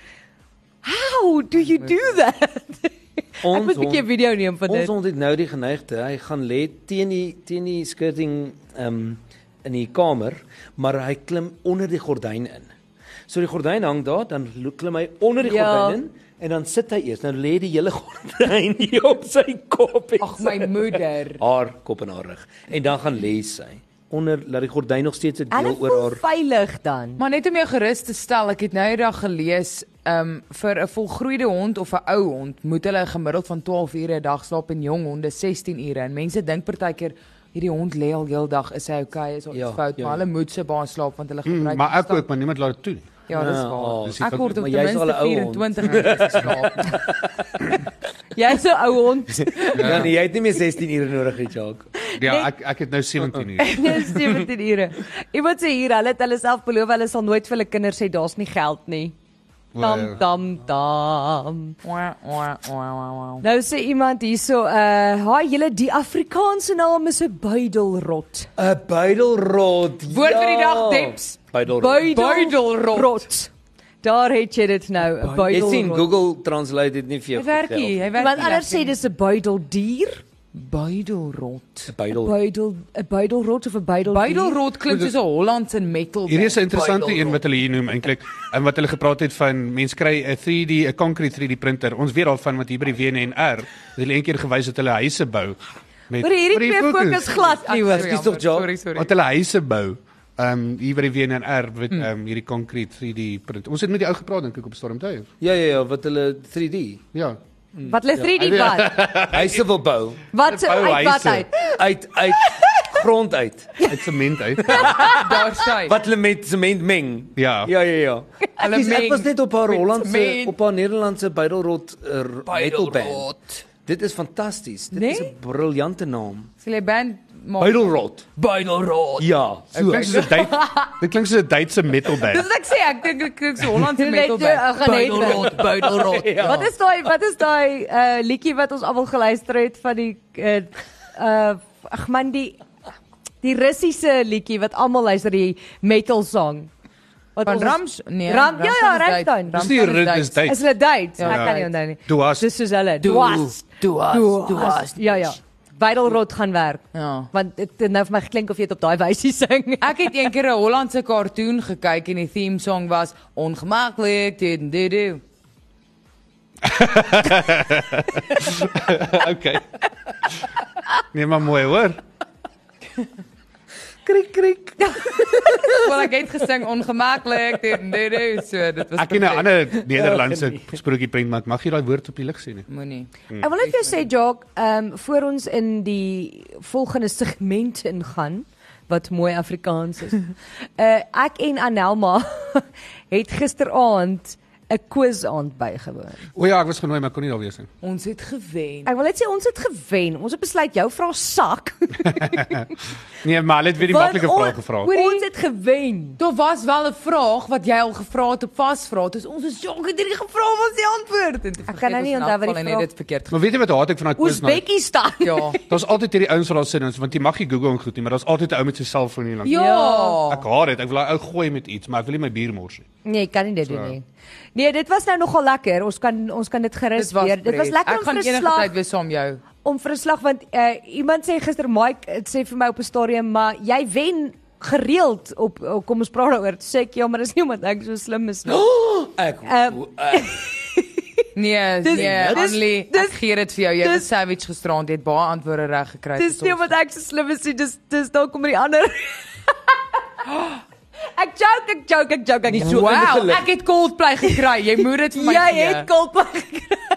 B: how do you do that Ek moet 'n bietjie 'n
E: hond-
B: video neem van
E: Ons
B: dit
E: hond het nou die geneigte, hy gaan lê teen die teen die skirting ehm um, in die kamer, maar hy klim onder die gordyn in. So die gordyn hang daar, dan lo- klim hy onder die
B: Ja.
E: gordyn in en dan sit hy eers. Nou lê die hele gordyn hier op sy kop. en
C: Ag my
E: sy-
C: moeder.
E: haar kop en haar rug. En dan gaan lê sy onder laat die gordyn nog steeds 'n
B: Hulle
E: deel oor
B: voel
E: haar
B: veilig dan.
C: Maar net om jou gerus te stel, ek het nou eendag gelees, ehm um, vir 'n volgroeide hond of 'n ou hond moet hulle 'n gemiddeld van 12 ure 'n dag slaap en jong honde 16 ure. En mense dink partykeer hierdie hond lê al heeldag, is hy okay, is daar iets
E: Ja,
C: fout,
E: ja,
C: maar hulle moet se baas slaap want hulle gebruik
D: Mm, maar
C: die
D: ek
C: stap-
D: ook, maar niemand laat dit toe nie.
C: Ja, dis
E: Ah,
C: waar.
E: ah, dis
D: die
C: ek
D: fout.
C: word op
E: Maar jy is
C: ten
E: al 'n
C: minste
E: ou hond.
C: 24 ure geslaap.
B: Jy's 'n ou hond.
E: Ja, nee, jy het nie meer 16 ure nodig hê, Jacques.
B: Nee.
D: Ja, ek ek het nou 17 uur.
B: Dis 17 ure. Iemand sê hier, hulle het hulle self beloof hulle sal nooit vir hulle kinders sê daar's nie geld nie. Dam dam dam.
C: Wah, wah, wah, wah, wah.
B: Nou sê iemand hierso, uh, "Haai julle, die Afrikaanse naam is 'n buidelrot."
E: 'n Buidelrot.
C: Woord vir die dag, Deps.
E: Buidelrot.
B: Buidel-
C: Buidelrot.
B: Rot. Daar het jy dit nou, 'n
E: Jy sien
B: buidelrot.
E: Google Translate dit nie vir jou
C: Hy werk
E: vertel.
C: hier, hy werk
B: Want
C: nie
B: anders
C: lekker
B: sê dis 'n buideldier.
C: Buidelrot.
E: 'n buidel.
B: Buidel 'n buidelrot of 'n buidel.
C: Buidelrot klink soos 'n Hollandse metal.
D: Hierdie is 'n
C: band,
D: interessante
C: buidelrot.
D: een wat hulle hier noem eintlik, en wat hulle gepraat het van mense kry 'n 3D, 'n concrete 3D printer. Ons weet daarvan want hier by die WNR het hulle eendag gewys dat hulle huise bou met
B: Maar hierdie twee fokus glad Ah, nie hoor.
C: Sorry,
E: Ekskuus tog,
C: Alfred,
E: Ja.
C: Sorry, sorry.
D: wat hulle huise bou. Ehm um, hier by die WNR met ehm um, hierdie concrete 3D print. Ons het met die ou gepraat dink ek op Stormtuig.
E: Ja ja ja, wat hulle 3D.
D: Ja.
B: Wat lê 3D
E: Ja.
B: wat?
E: Huise wil bou
B: Wat se
D: Bou
B: uit wat
D: huise.
B: uit?
E: uit uit grond uit.
D: Uit sement uit.
C: Daar staan.
E: Wat hulle met sement meng.
D: Ja.
E: Ja ja ja.
C: Hulle
E: Ek is-
C: meng
E: Ek was net op haar
C: met
E: Hollandse
C: sement.
E: op haar Nederlandse buidelrot eh, metal band.
C: Buidelrot.
E: Dit is fantasties. Dit
C: Nee?
E: is 'n briljante naam.
C: Sê jy band maak-
E: Buidelrot.
C: Buidelrot.
E: Ja.
D: Dit klink soos 'n Duits. Dit klink soos 'n Duitse metal
C: Dis
D: band.
C: wat ek sê, ek dink dit klink so Hollandse
B: Net,
C: metal
B: eh,
C: band.
B: gaan net-
C: buidelrot.
E: Ja.
B: Wat is daai wat is daai uh liedjie wat ons almal geluister het van die uh uh ag man die die Russiese liedjie wat almal luister die metal song. Wat
C: Van
B: ons-
C: Rams? Nee.
B: Ram, ja ja, Ramstein.
D: Dis nie rit is
B: Is
D: Duits.
B: hulle Duits?
C: Ja.
B: Ja, ek kan nie
C: Ja.
B: onthou nie.
D: Duas.
B: Dis soos hulle.
C: Du-
B: Duas.
C: Duas, Duas.
B: Ja ja. Weidelrot gaan werk.
C: Ja.
B: Want dit dit nou vir my geklink of jy dit op daai wysie sing.
C: Ek het eendag 'n Hollandse kartoon gekyk en die theme song was ongemaklik. Dit dit dit.
D: Okay. Nee maar mooi hoor.
E: Krik krik.
C: Wel ek het gesing ongemaklik. Dit dit dit. So dit was
D: Ek ken 'n
C: perfect.
D: ander Nederlandse sprokie prent maar ek mag nie daai woord op die lig sê nee? nie.
C: moenie.
D: Hmm.
B: Ek wil net vir jou sê Jock, ehm voor ons in die volgende segment ingaan wat mooi Afrikaans is. uh ek en Anelma het gisteraand 'n quiz aand bygewoon.
D: O ja, ek was genooi maar kon nie daar wees nie.
C: Ons het gewen.
B: Ek wil net sê ons het gewen. Ons het besluit jou vra sak.
D: Nee, maar hulle het weer die
B: want
D: maklike vraag gevra.
B: Hoorie, ons het gewen.
C: Daar was wel 'n vraag wat jy al gevra het op vasvra. Toe ons is jonk het hierdie gevra was die antwoord. En toe
B: Ek kan nou
C: vergeet
B: nie
C: ons in
B: onthou wat die
C: elk geval en het
B: vraag-
C: dit verkeerd. ge-
D: Maar weet jy wat haat ek van daai quiz nou?
B: Oosbekkie staan.
C: Ja.
D: Daar's altyd hierdie ouens wat daar sit en ons want jy mag nie Google en goed nie, maar daar's altyd 'n ou met sy selfoon hier langs.
C: Ja.
D: Ek haat dit. Ek wil daai ou gooi met iets, maar ek wil nie my bier mors nie.
B: Nee, ek kan nie dit doen nie. Nee, dit was nou nogal lekker. Ons kan ons kan dit gerus
C: Dit was
B: weer. Dit was
C: pret.
B: lekker
C: Ek
B: om
C: gaan
B: vir 'n
C: enige
B: slag
C: tyd weer saam jou.
B: om verslag want uh, iemand sê gister Mike het sê vir my op 'n stadium maar jy wen gereeld op oh, kom ons praat daaroor Toe sê ek ja maar dis nie omdat ek so slim is nie.
C: Oh,
E: Ek
B: Ehm,
C: Nee,
B: Dis-
C: nee,
B: dis-
C: Annelie,
B: dis-
C: ek gee dit vir jou. Jy
B: dis-
C: het savage gisterand, jy het baie antwoorde reg gekry.
B: dis nie
C: ons-
B: omdat ek so slim is nie dis dis dalk kom die ander. ek joke ek joke ek joke ek
E: Nie so
C: Wow,
E: ingelig.
C: ek het Coldplay gekry. Jy moet dit vir my
B: Jy
C: gee.
B: het kulpa gekry.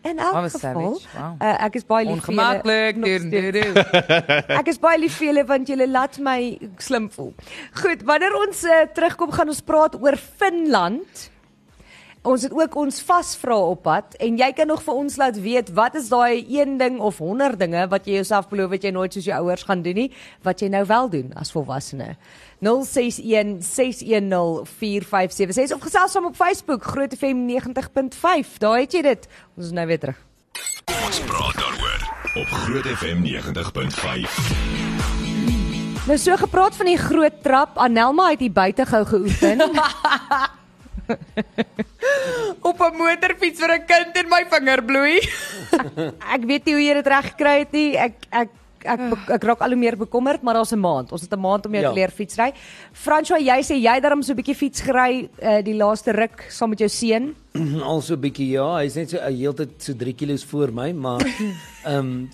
B: En
C: Wow,
B: elk
C: was
B: geval,
C: savage. Wow.
B: uh, ek is baie lief vir julle.
C: Ongemaklik.
B: Nog
C: doen,
B: steeds.
C: doen, doen.
B: Ek is baie lief vir julle want julle laat my slim voel. Goed, wanneer ons uh, terugkom gaan ons praat oor Finland. Ons het ook ons vasvra op pad en jy kan nog vir ons laat weet wat is daai een ding of 100 dinge wat jy jouself beloof wat jy nooit soos jou ouers gaan doen nie, wat jy nou wel doen as volwassene. 061 610 4576 of gesels saam op Facebook Groot FM 90.5. Daar het jy dit. Ons is nou weer terug.
A: Ons praat daaroor op Groot FM 90.5.
B: Nou so gepraat van die groot trap, Anelma het hier buite gou geoefen.
C: Op 'n motorfiets vir 'n kind en my vinger bloei.
B: Ek weet nie hoe jy dit reg gekry het nie. Ek ek ek ek, ek raak al hoe meer bekommerd, maar daar's 'n maand. Ons het 'n maand om jou
E: Ja.
B: te leer fietsry. François, jy sê jy het daarom so 'n bietjie fiets gery uh, die laaste ruk saam met jou seun.
E: al so 'n bietjie ja, hy's net so hy heeltyd so 3 kg voor my, maar ehm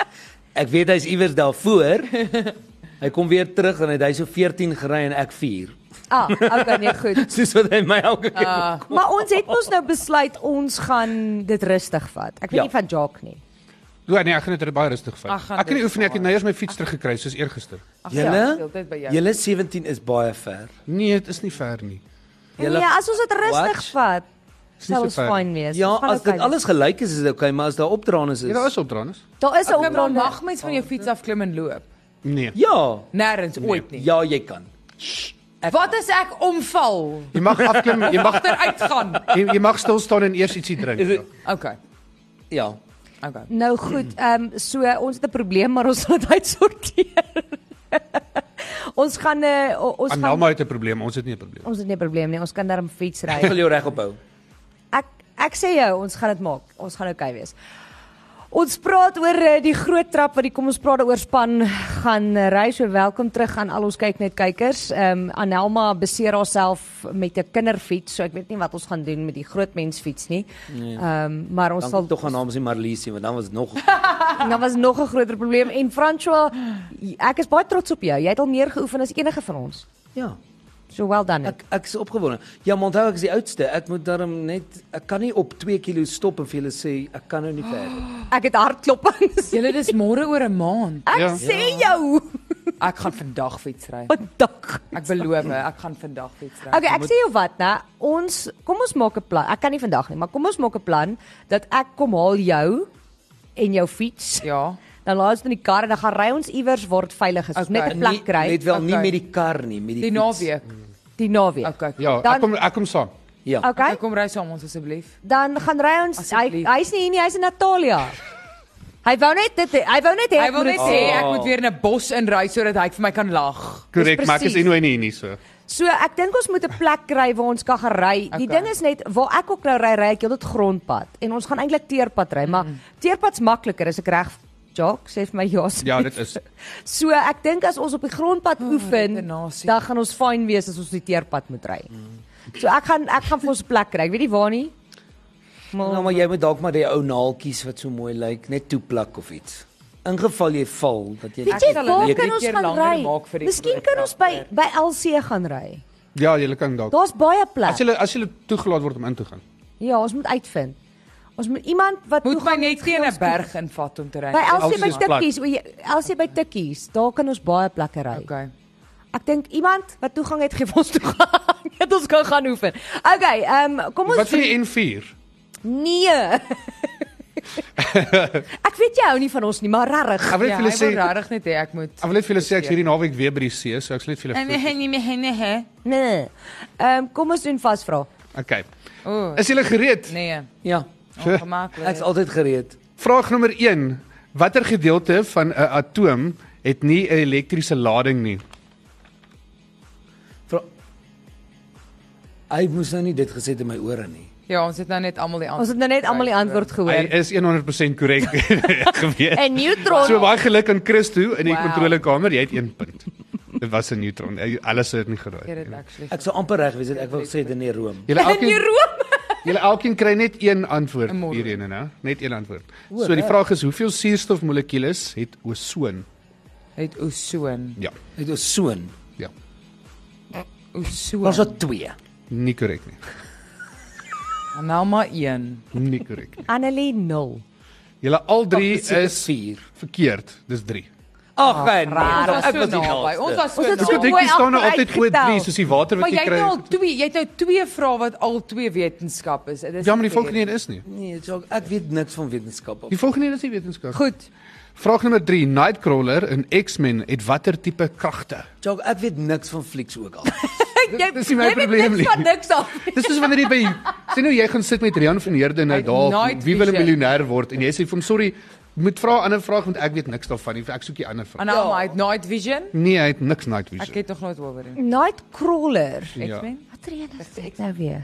E: ek weet hy's iewers daarvoor. Hy kom weer terug en hy het hy so 14 gery en ek 4.
B: Ah, okay, nee, goed.
E: Soos wat hy my elke keer uh,
C: Ah,
B: Maar ons het mos nou besluit ons gaan dit rustig vat. Ek weet
E: Ja.
B: nie van Jacques nie.
D: Ja, nee, ek gaan dit baie rustig vat.
C: Ag, gaan
D: Ek kan nie
C: dit
D: oefen nie, ek het nou eers my fiets teruggekry soos eergister.
C: Ag, ja,
E: Julle?
C: heeltyd by jou.
E: Julle 17 is baie ver.
D: Nee, dit is nie ver nie.
E: Julle-
B: Julle, nee, as ons dit rustig vat,
E: Wat?
D: nie
B: sal
D: so
B: ons
D: ver.
B: fyn wees.
E: Ja,
B: Ons gaan
E: as dit
B: okay
E: alles gelyk is is dit okay, maar as daar opdraandes
D: Ja,
E: is.
D: daar is opdraandes.
B: wees. daar is 'n
C: Kom dan
B: opdrag.
C: mag mens van jou fiets af klim en loop.
D: Nee.
E: Ja,
C: Nêrens ooit nie.
E: ja, jy kan.
C: Wat as ek omval?
D: Jy mag afklim, jy mag
C: Agteruit gaan.
D: jy, jy mag stil staan en eers ietsie drink.
E: Is
D: Ja.
E: dit-
C: Okay.
E: Ja.
C: Okay.
B: Nou goed, ehm so ons het 'n probleem, maar ons gaan dit uitsorteer. ons gaan uh, ons gaan
D: Annelma het 'n probleem, ons het nie 'n probleem.
B: ons het nie 'n probleem nie. Ons kan daarom fiets
E: Ek
B: ry.
E: wil jou regop hou.
B: Ek ek sê jou, ons gaan dit maak. Ons gaan oukei okay wees. Ons praat oor eh, die groot trap wat die kom ons praat oor span gaan eh, ry. So welkom terug aan al ons kyk net kykers. Ehm um, Anelma beseer haarself met 'n kinderfiets, so ek weet nie wat ons gaan doen met die groot mensfiets nie. Ehm um, maar ons
E: Nee. Dan
B: sal
E: sal tog aan naam sê Marlisie, want dan was nog
B: En dan was nog 'n groter probleem en François, ek is baie trots op jou. Jy het al meer geoefen as enige van ons.
E: ja.
B: So wel done. Ek,
E: Ek ek's opgewonde. Ja, maar onthou ek is die oudste. Ek moet daarom net ek kan nie op 2 kg stop en vir julle sê ek kan nou nie verder.
B: ek het hartklopings.
C: Julle dis môre oor 'n maand.
B: Ek
D: Ja.
B: sê jou
C: Ek gaan vandag fietsry.
B: vandag.
C: Ek beloof, ek gaan vandag fietsry.
B: Okay, ek sê jou wat, né? Ons kom ons maak 'n plan. Ek kan nie vandag nie, maar kom ons maak 'n plan dat ek kom haal jou en jou fiets.
C: Ja.
B: Dan laat ons dit in die kar en dan gaan ry ons iewers waar dit veilig is. Ons
C: Okay.
B: net 'n plek
E: Nie,
B: kry
E: net wel nie
C: Okay.
E: met die kar nie, met die,
C: Die
E: fiets.
C: naweek.
B: die naweek.
C: Okay.
D: Ja,
B: Dan-
D: ek kom ek kom saam.
E: Ja.
B: Okay.
C: Okay, kom ry saam ons asseblief.
B: dan gaan ry ons hy
C: Asseblief.
B: hy's nie hier nie, hy's in Natalia. Hy wou net dit hy wou net hê
C: Hy
B: ek Ja, moet
C: wil net
B: dit
C: sê
B: sê.
C: ek moet weer in 'n bos inry sodat hy vir my kan lag.
D: Korrek, maar ek is
B: presies.
D: anyway nie hier nie so.
B: So ek dink ons moet 'n plek kry waar ons kan gery. Die
C: Okay.
B: ding is net waar ek ook nou ry, ry ek heeltyd grondpad en ons gaan eintlik teerpad ry, maar
C: Mm.
B: teerpad's makliker as ek reg Jock sê vir my ja. asseblief.
D: Ja, dit is.
B: So ek dink as ons op die grondpad oefen,
C: redenasie.
B: dan gaan ons fyn wees as ons die teerpad moet ry. So ek gaan ek gaan vir ons 'n plek kry. Ek weet nie waar nie.
E: Nou maar jy moet dalk maar die ou naaltjies wat so mooi lyk net toeplak of iets. In geval jy val dat jy
B: Weet jy
C: sal hulle
B: waar
C: net
B: kan
C: een
B: ons
C: keer
B: gaan
C: langer
B: ry?
C: maak vir die
B: Miskien kan ons by by LC gaan ry.
D: Ja, jy kan dalk.
B: Daar's baie
D: As
B: plek.
D: jy as jy toegelaat word om in te gaan.
B: Ja, ons moet uitvind. Ons moet iemand wat
C: Moet my
B: toegang
C: net
B: gee
C: teen
B: ons
C: 'n berg invat om te ry.
B: By Elsie by
D: Elsie is plek.
B: Tikkies, o, jy- Elsie by Tikkies, daar kan ons baie plekke ry. Okay.
C: Okay.
B: Ek dink iemand wat toegang het gee vir ons toegang. Dat ons kan gaan oefen. Okay, ehm um, kom ons
D: Wat vir die N4?
B: Nee. ek weet jy hou nie van ons nie, maar regtig.
D: Ek wil
C: Ja, hy
D: net vir julle sê
C: wil regtig net hê ek moet.
D: Ek wil net vir julle sê ek's hierdie naweek weer by die see, so ek sal net vir julle
C: Nee, nee, nee, nee, nee, nee.
B: Nee. Ehm um, kom ons doen vasvra.
D: Okay.
C: O,
D: Is julle gereed?
C: nee.
E: Ja, ek's
C: Ongemaklik.
E: altyd gereed.
D: Vraag nommer 1. Watter gedeelte van 'n atoom het nie 'n elektriese lading nie?
E: Vra Hy moes nou nie dit gesê het in my ore nie.
C: Ja, ons het nou net almal die
B: Ons
C: antwoord.
B: het nou net almal die antwoord
D: Hy
B: gehoor.
D: is 100% korrek gewees.
B: 'n Neutron.
D: So baie geluk aan Christo in die
C: Wow.
D: kontrolekamer. Jy het 1 punt. Dit was 'n neutron. Hy- Alles het nie
C: Ek het dit
D: geraai.
C: actually.
E: Ek sou amper reg wees het ek wou gesê dit in die room.
D: Julle
B: in
D: elkeen
B: Rome.
D: julle elkeen kry net een antwoord
C: Een model.
D: hierheen, né? Net een antwoord.
E: O,
D: So die
E: reg.
D: vraag is hoeveel suurstofmolekules het osoon?
C: Het Osoon.
D: Ja.
E: Dit was soon.
D: Ja.
C: Osoon.
E: Was dit 2?
D: Nie korrek nie.
C: Nou maar een.
D: Nie korrek nie.
B: Annelie 0.
D: Julle al drie is
E: 4.
D: verkeerd. Dis 3.
E: Ag nee,
C: Ons was
E: ek
C: so
E: was nie
C: naby. Ons
E: naby.
C: was so
B: Ons het
D: Dis
B: so
C: naby.
D: goed,
B: mooi
D: ek staan nou altyd
B: agteruit
D: oor
B: getel.
D: 3 soos die water
C: Maar
D: wat
C: jy
D: jy
C: het
D: kry.
C: nou al twee, jy het nou twee vrae wat al twee wetenskap is. Dit is
D: Ja, maar die
C: nie
D: volgende een is nie.
E: Nee, Jock, ek weet niks van wetenskap af.
D: Die volgende een is nie wetenskap.
C: Goed.
D: Vraag nommer 3. Nightcrawler in X-Men het watter tipe kragte?
E: Jock, ek weet niks van flieks ook al.
B: Jy
D: dis nie
B: jy
D: my
B: weet
D: probleem
B: niks
D: nie.
B: Van niks af.
D: Dis soos wanneer jy by sien nou jy gaan sit met Rian van Heerden nou
C: Hy het
D: daar
C: night
D: wie wil 'n
C: vision.
D: miljonair word en jy sê vir hom sorry, moet vra 'n ander vraag want ek weet niks daarvan nie. Ek soek die ander vraag.
C: En nou maar het night vision.
D: Nee, hy het niks night
C: Ek
D: vision.
C: het nog nooit oor in.
B: Nightcrawler.
D: Ja.
C: X-Men.
B: Wat reën is dit nou weer?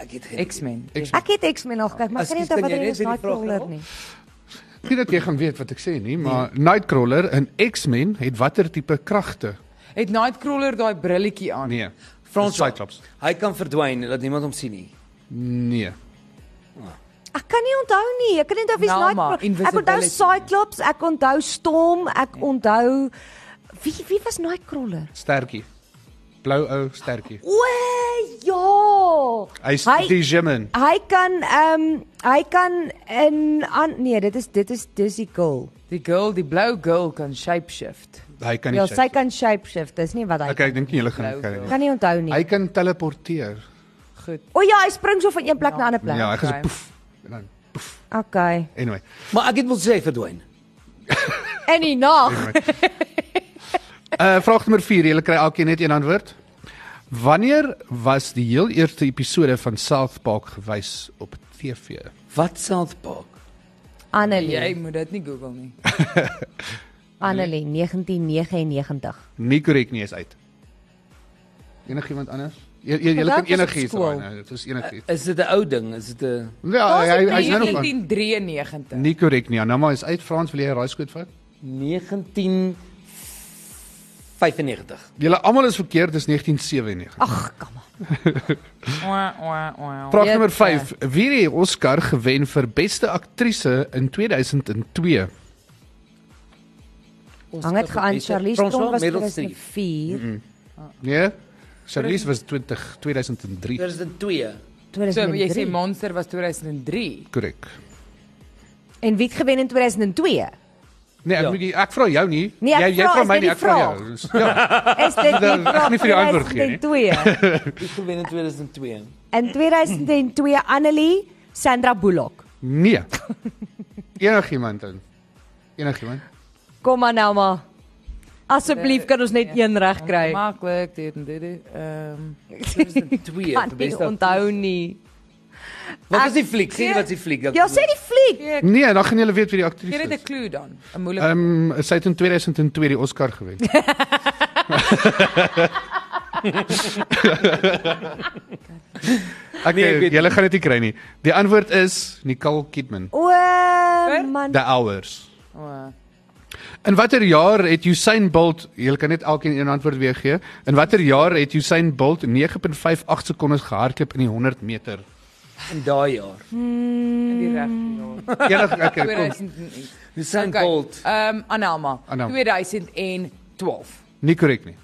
E: Ek het geen-
C: X-Men.
B: Ek het X-Men al gekyk, maar ek kan nie
E: Excuse,
B: onthou
E: kan
B: wat
E: jy
B: reën
E: net
B: is
E: weer die vraag
B: Nightcrawler
E: herhaal?
B: nie.
D: Nie dat jy gaan weet wat ek sê nie, maar Nightcrawler in X-Men het watter tipe kragte?
C: Het Nightcrawler daai brilletjie aan?
D: Nee.
E: Frans
D: Dis Cyclops.
E: Hy kan verdwyn dat niemand hom sien nie.
D: Nee.
B: Ek kan nie onthou nie. Ek kan nie onthou wie's
C: Nou maar,
B: Nightcrawler. Ek onthou
C: invisibility.
B: Cyclops, ek onthou Storm, ek onthou wie wie was Nightcrawler?
D: Stertjie. Blou ou stertjie.
B: O ja.
D: Hy's
B: Hy-
D: die Jimin.
B: Hy kan ehm um, hy kan in aan nee, dit is dit is dis die girl.
C: Die girl, die blou girl kan shapeshift.
D: Hy kan nie.
B: Ja,
D: sy-
B: sy kan shapeshift. Dis nie wat hy
D: Okay, ek dink nie julle gaan
C: Blou
D: kry nie.
B: kan nie onthou
D: Hy
B: nie.
D: kan teleporteer.
C: Goed.
B: O ja, hy spring so van een plek na 'n ander plek.
D: Ja, hy gaan so
C: Okay.
D: poef en dan poef.
B: Okay.
D: Anyway.
E: Maar ek het wel sê hy verdwyn.
B: En die
D: Nee,
B: nag.
D: Uh vraag nommer 4, julle kry elkeen net een antwoord. Wanneer was die heel eerste episode van South Park gewys op TV?
E: Wat South Park?
C: Jy
B: Annelie.
C: moet dit nie Google nie.
B: Annelie 1999.
D: Nie korrek nie is uit. Enigiemand anders? Jy jy jy
B: Vandag
D: kan
B: was dit
D: enigiets
B: skool. Eh,
D: raai nou. Dit is enigiets.
E: Is dit 'n ou ding? Is dit 'n
D: Ja,
C: Daar's
D: hy
C: dit
D: hy's nou nog
C: 1993.
D: nie korrek nie. Anama is uit Frans wil jy 'n raaiskoot vat?
E: 1995?
D: Julle almal is verkeerd, dis 1997.
B: Ag, kom aan.
C: Wah, wah, wah.
D: Nee. Vraag
B: Weet
D: nommer
B: jy.
D: 5. Wie het die Oscar gewen vir beste aktrise in 2002?
B: Hang dit geaan Charlize Theron was
E: Meryl Streep.
B: 2004,
D: Nee. Charlize was 20 2003.
E: 2002.
C: So jy sê
B: 2003.
C: Monster was 2003.
D: Korrek.
B: En wie het gewen in 2002?
D: Nee, ek
E: Ja.
D: moet nie- ek vra jou nie.
B: Nee, ek
D: jy
B: vra,
D: vra
B: is
D: my
B: dit
D: nie,
B: die
D: ek vra
B: vraag?
D: jou. Dus- Ja,
B: Is dit nie
D: Ek gaan nie vir die antwoord gee nie.
B: 2002.
E: Ek gewen in 2002.
B: In 2002 Annelie Sandra Bullock.
D: nee. Enigiemand dan. Enigiemand.
B: Kom maar nou maar. Asseblief kan ons net een reg kry.
C: Ja, Maklik dit en dit. dit, Ehm
D: Ja,
E: 2002
B: Kan
E: vir
B: nie
E: beste.
B: Ah, nee, onthou nie.
E: Wat
B: Ek-
E: is die fliek? Sê wat is die fliek?
B: Ja, sê die fliek.
D: Nee, dan gaan julle weet wie die
C: gee
D: aktrise
C: dit 'n
D: is.
C: klou dan. 'n Moeilike. Um,
D: Ehm um, sy het in 2002 die Oscar gewen. Ek
E: Nee, ek
D: nee,
E: weet
D: julle gaan dit nie kry nie. Die antwoord is Nicole Kidman.
B: O man.
D: The Hours.
C: oh,
D: In watter jaar het Usain Bolt, jy kan net elkeen een antwoord weer gee. In watter jaar het Usain Bolt 9.58 sekondes gehardloop in die 100 meter?
E: in daai jaar.
C: in die
B: Mm.
C: reg.
D: Enig ek
C: Ja.
D: kom.
C: 2000.
E: Usain
C: Okay.
E: Bolt.
C: Ehm Anelma.
D: Anelma.
C: 2012.
D: Nie korrek nie.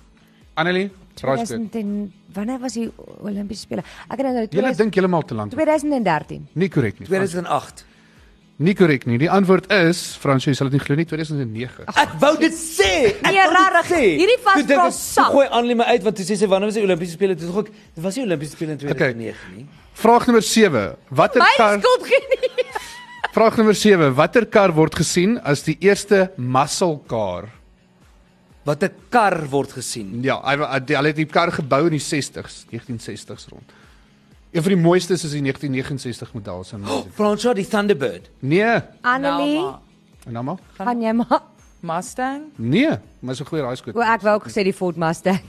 D: Annelie, raaiskoot.
B: 2010 wanneer was die Olimpiese spele? Ek nou dink dit
D: Julle
B: was
D: dink heeltemal te lank.
B: 2013.
D: Nie korrek nie.
E: 2008.
D: Nie korrek nie. Die antwoord is, Fransjo, jy sal dit nie glo nie, 2009.
E: Ek wou dit sê. Ek
B: Nee,
E: wou dit
B: rarig.
E: sê.
B: Hierdie vasvra
E: Toe dink ek, toe
B: sak.
E: Gooi aan my uit want toe sê sy wanneer was die Olimpiese spele? Toe dink ek, dit was die Olimpiese spele in 2009 nie.
D: Vraag nommer 7. Watter
B: My
D: kar
B: skuld geen nie.
D: Vraag nommer 7. Watter kar word gesien as die eerste muscle car?
E: Wat 'n kar word gesien.
D: Ja, hy wa- die- hulle het die kar gebou in die 60s, 1960s rond. Een van die mooistes is die 1969 model se.
E: Fransjo die Thunderbird.
D: Nee,
B: Annelie,
C: Anelma.
D: en dan maar.
B: gaan jy maar.
C: Mustang.
D: Nee, maar so goeie raaiskoot.
B: O, ek wou ook gesê die Ford Mustang.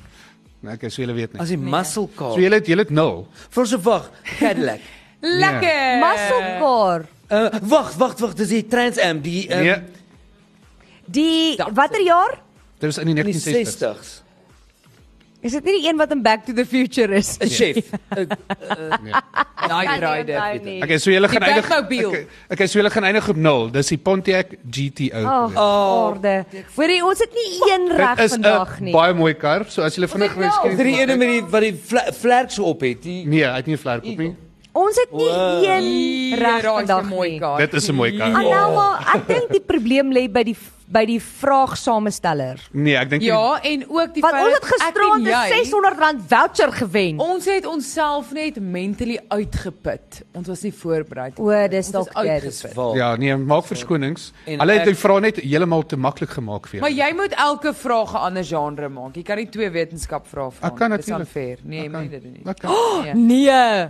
D: Nee, okay, so julle weet nie.
E: As die nee. muscle car.
D: So julle het julle het nul.
E: Fransjo wag, Cadillac.
C: Lekker.
B: Ja. Musselkar.
E: Uh wag, wag, wag, dis die Trans Am, die
B: Ehm,
E: um,
D: Nee,
E: nee.
B: Die watter jaar?
D: dit was in die
E: in die
D: 1960s.
E: 60s.
B: Is dit nie die een wat in Back to the Future is?
E: 'n Chef.
C: Night Rider.
D: Okay, so julle
C: Die
D: gaan eindig.
C: Batmobiel.
D: Okay, okay, so julle gaan eindig op nul. Dis die Pontiac GTO.
B: Ag,
D: gewees.
B: orde. Hoorie, ons het nie een reg
D: Oh. Dit is 'n
B: vandag nie.
D: baie mooi kar. So as julle vinnig
B: dit nou?
D: miskien
E: Drie ene met die wat die vla- vlerks op het. Die
D: Nee, hy het nie 'n vlerk op nie.
B: Ons het nie
E: Wow.
B: een reg vandag
C: mooi
B: nie.
C: kaart.
D: Dit is 'n mooi kar.
B: Anelma, ek dink die probleem lê by die by die vraagsamesteller.
D: Nee, ek dink nie.
C: Ja, en ook die
B: Want
C: feit
B: ons het
C: dat ek en
B: gisteraan 'n
C: jy-
B: 600 rand voucher gewen.
C: Ons het onsself net mentally uitgeput. Ons was nie voorberei.
B: O, dis
C: Ons
B: dalk
C: is
B: dit.
C: uitgeput.
E: waar.
D: Ja, nee, maak verskonings.
E: En
D: Hulle het
E: ek-
D: die vrae net heeltemal te maklik gemaak vir
C: Maar
D: julle.
C: jy moet elke vraag 'n ander genre maak. Jy kan nie twee wetenskap vrae vra.
D: Ek kan
C: nie. Dis
D: natuurlijk.
C: unfair. Nee, jy
D: Ek kan-
C: moet dit doen nie.
D: Okay.
B: Nee.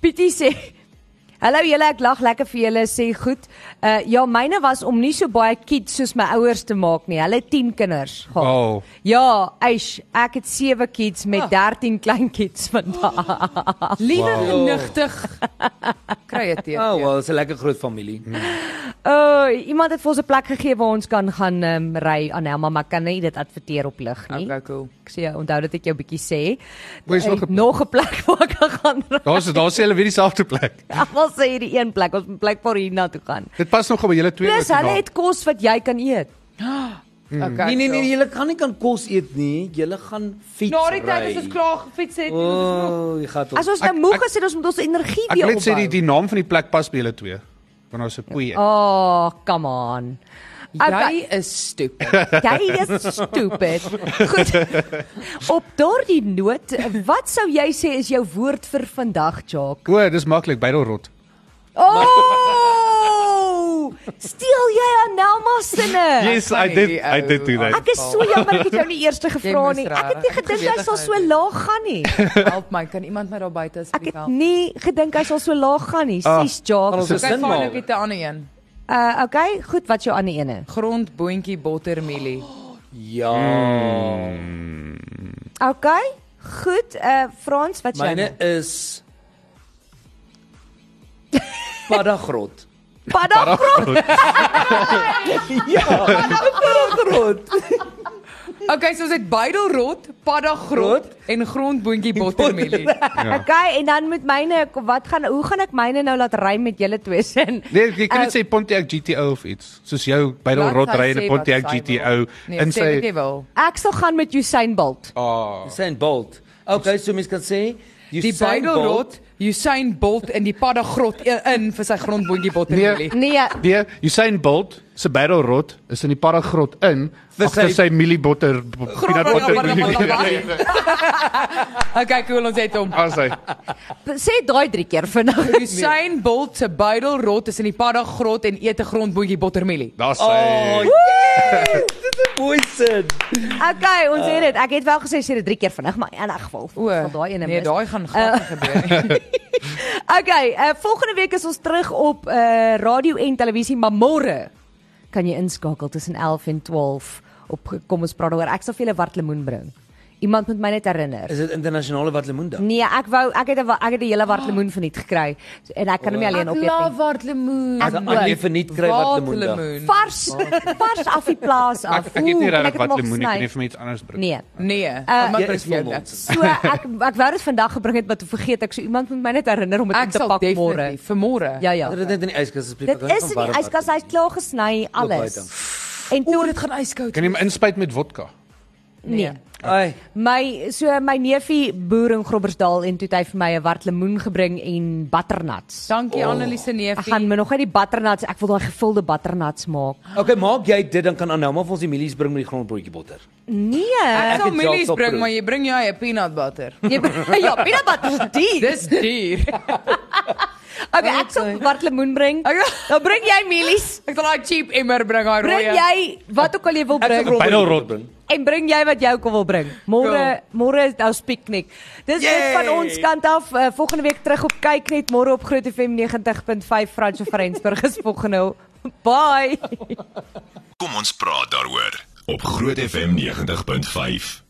B: Pietie sê Hallo julle, ek lag lekker vir julle sê goed. Uh ja, myne was om nie so baie kids soos my ouers te maak nie. Hulle het 10 kinders gehad.
D: Oh.
B: Ja, eish, ek het 7 kids
C: Ah.
B: met 13 kleinkids vandag.
C: Liewe genigtig. Kry dit
E: Oh,
C: teë.
E: wel, dis 'n lekker groot familie.
D: Ja.
B: O, oh, iemand het vir ons 'n plek gegee waar ons kan gaan um, ry aan Helma, maar kan nie dit adverteer op lig nie.
C: Okay, cool.
B: Ek sê onthou dat ek jou bietjie sê.
D: Waar is
B: Ek
D: nog
B: het
D: 'n-
B: nog 'n plek waar ek kan gaan ry.
D: Daar's daar's hulle weer dieselfde plek.
B: Almal sê hierdie een plek, ons moet plek vir hierna toe gaan.
D: Dit pas nog op julle twee.
B: Plus
D: wat jy
B: hulle
D: maak.
B: het kos wat jy kan eet.
C: Okay.
E: Nee nee nee,
C: cool.
E: julle gaan nie kan kos eet nie. Julle gaan fiets.
C: Na die tyd is
E: ry.
C: ons klaar gefiets het.
E: O, jy gaan
B: As
E: tot.
B: ons
D: Ek-
B: nou moeg
D: ek-
B: is, het ons moet ons energie
D: Ek
B: weer
D: wil
B: opbou.
D: net sê die die naam van die plek pas by julle twee. Want daar's 'n koei. in.
B: Oh, come on. Okay,
C: Jy is stupid.
B: jy is stupid. Goed. Op daardie noot, wat sou jy sê is jou woord vir vandag, Jacques?
D: O, dis maklik, Beidelrot.
B: Oh! Steel jy aan Nelma sinne?
D: Yes, I
C: funny,
D: did
C: die
D: I did do
C: ou.
D: that.
B: Ek is so jammer ek het jou nie eers te gevra
C: moes
B: nie. Ek het
C: rarig.
B: nie
C: Ek het
B: gedink hy
C: geweet
B: sal
C: hy
B: so laag gaan nie.
C: Help my, kan iemand my daar buite
B: Ek
C: asseblief
B: het
C: help?
B: nie gedink hy sal so laag gaan nie.
D: Ah,
B: Sis, Jacques.
E: Ons is
C: Kyk,
E: sin
C: fyn, ek
E: maar.
C: het 'n ander een.
B: Uh okay, goed, wat is jou ander ene?
E: Hmm.
C: Grondboontjie bottermielie.
E: Ja.
B: Okay. Goed, eh Frans, wat sê jy?
E: Myne is Paddagrot.
B: Paddagrot.
E: Paddagrot.
C: Okay, so ons het buidelrot, paddagrot en grondboontjie bottermelie.
D: Ja.
B: Okay, en dan met myne wat gaan hoe gaan ek myne nou laat rym met julle twee sin?
D: Nee, jy kan
B: Eh,
D: net sê Pontiac GTO of iets. Soos jou by die
C: Laat
D: rot
C: sy
D: ry
C: sê
D: in 'n
C: wat
D: Pontiac
C: sy
D: GTO
C: Nee, sê
D: in
C: wat
D: sy
C: jy wil.
B: Ek sal gaan met Usain Bolt.
D: Ah,
E: Usain Bolt. Okay, so mens kan sê
C: Die
E: Usain
C: buidelrot, Usain Bolt in die paddagrot i- in vir sy grondboontjie bottermelie.
B: Nee,
D: nee, Usain Bolt se battle rot is in die paragrot in
E: Vir
D: agter
E: sy-
D: sy mieliebotter peanut butter.
C: Okay, cool, ons het hom.
D: Asai.
B: sê daai drie keer vinnig.
C: Usain Bolt se buidelrot is in die paddagrot en eet 'n grondboontjie bottermelie.
D: Daar's
E: Oh,
D: hy.
E: yes! Dit is poison.
B: Okay,
D: Eh.
B: ons het dit. Ek het wel gesê sê dit drie keer vinnig, maar in elk geval.
C: O,
B: sal daai een
C: nee, daai gaan glad nie gebeur nie.
B: Okay, uh, volgende week is ons terug op uh, radio en televisie, maar môre kan jy inskakel tussen 11 en 12 op kom ons praat daaroor. Ek sal vir julle wat lemoen bring. Iemand moet my net herinner.
E: Is dit internasionale wat lemoendag?
B: Nee, ek wou ek het 'n wa- ek het 'n hele wat lemoen verniet gekry so- en ek kan hom nie alleen op eet nie.
C: wart lemoen.
E: Ek wil nie verniet kry wat lemoendag.
B: Vars vars af die plaas af.
D: Ek ek het nie
B: Oeh, kan
D: regtig
B: dit
D: wat
B: nog
D: lemoen nie, ek
B: gesny?
D: kan nie vir my iets anders bring.
B: Nee.
C: Nee, uh, maar
E: jy
C: bring
E: is
C: vir jou
E: vol
C: niks.
E: nonsens.
B: So ek ek wou dit vandag gebring het, maar toe vergeet ek. So iemand moet my net herinner om dit in
C: Ek
B: te
C: sal
B: pak
C: definitief
B: môre.
C: vir môre.
B: Ja ja.
E: Dat dit net in die yskas asseblief
B: Dit
E: ek hou
B: is
E: van
B: in die
E: warm bad.
B: yskas, hy's klaar gesny, alles.
E: dan.
B: En toe
C: O, dit gaan yskoud.
D: Kan jy hom inspuit met vodka?
B: nee.
E: Ai,
B: My so my neefie boer in Grobbersdal en toe het hy vir my 'n wat lemoen gebring en butternuts.
C: Dankie oh. Annelise
B: Ek
C: neefie.
B: gaan my nog uit die butternuts, ek wil daai gevulde butternuts maak.
E: okay, maak jy dit dan kan Anoma vir ons die mielies bring met die grondbroodjie botter.
B: Nee.
C: Ek sal
E: het
C: mielies
E: selfs
C: bring,
E: opgeroep.
C: maar jy bring jou eie peanut butter.
B: Jy ja, peanut butter is duur.
C: Dis duur.
B: Okay, ek sal wat lemoen bring. Dan bring jy mielies.
C: Ek sal daai cheap emmer bring daai
B: Bring
C: rooi.
B: jy wat ook al jy wil bring.
D: Bynelrot.
B: En bring jy wat jy ook al wil bring. Môre môre is ons piknik. Dis dit
E: Yay!
B: van ons kant af. Uh, volgende week terug op kyk net môre op Groot FM 90.5 Frans van Rensburg is volgende. Bye.
A: Kom ons praat daaroor op Groot FM 90.5.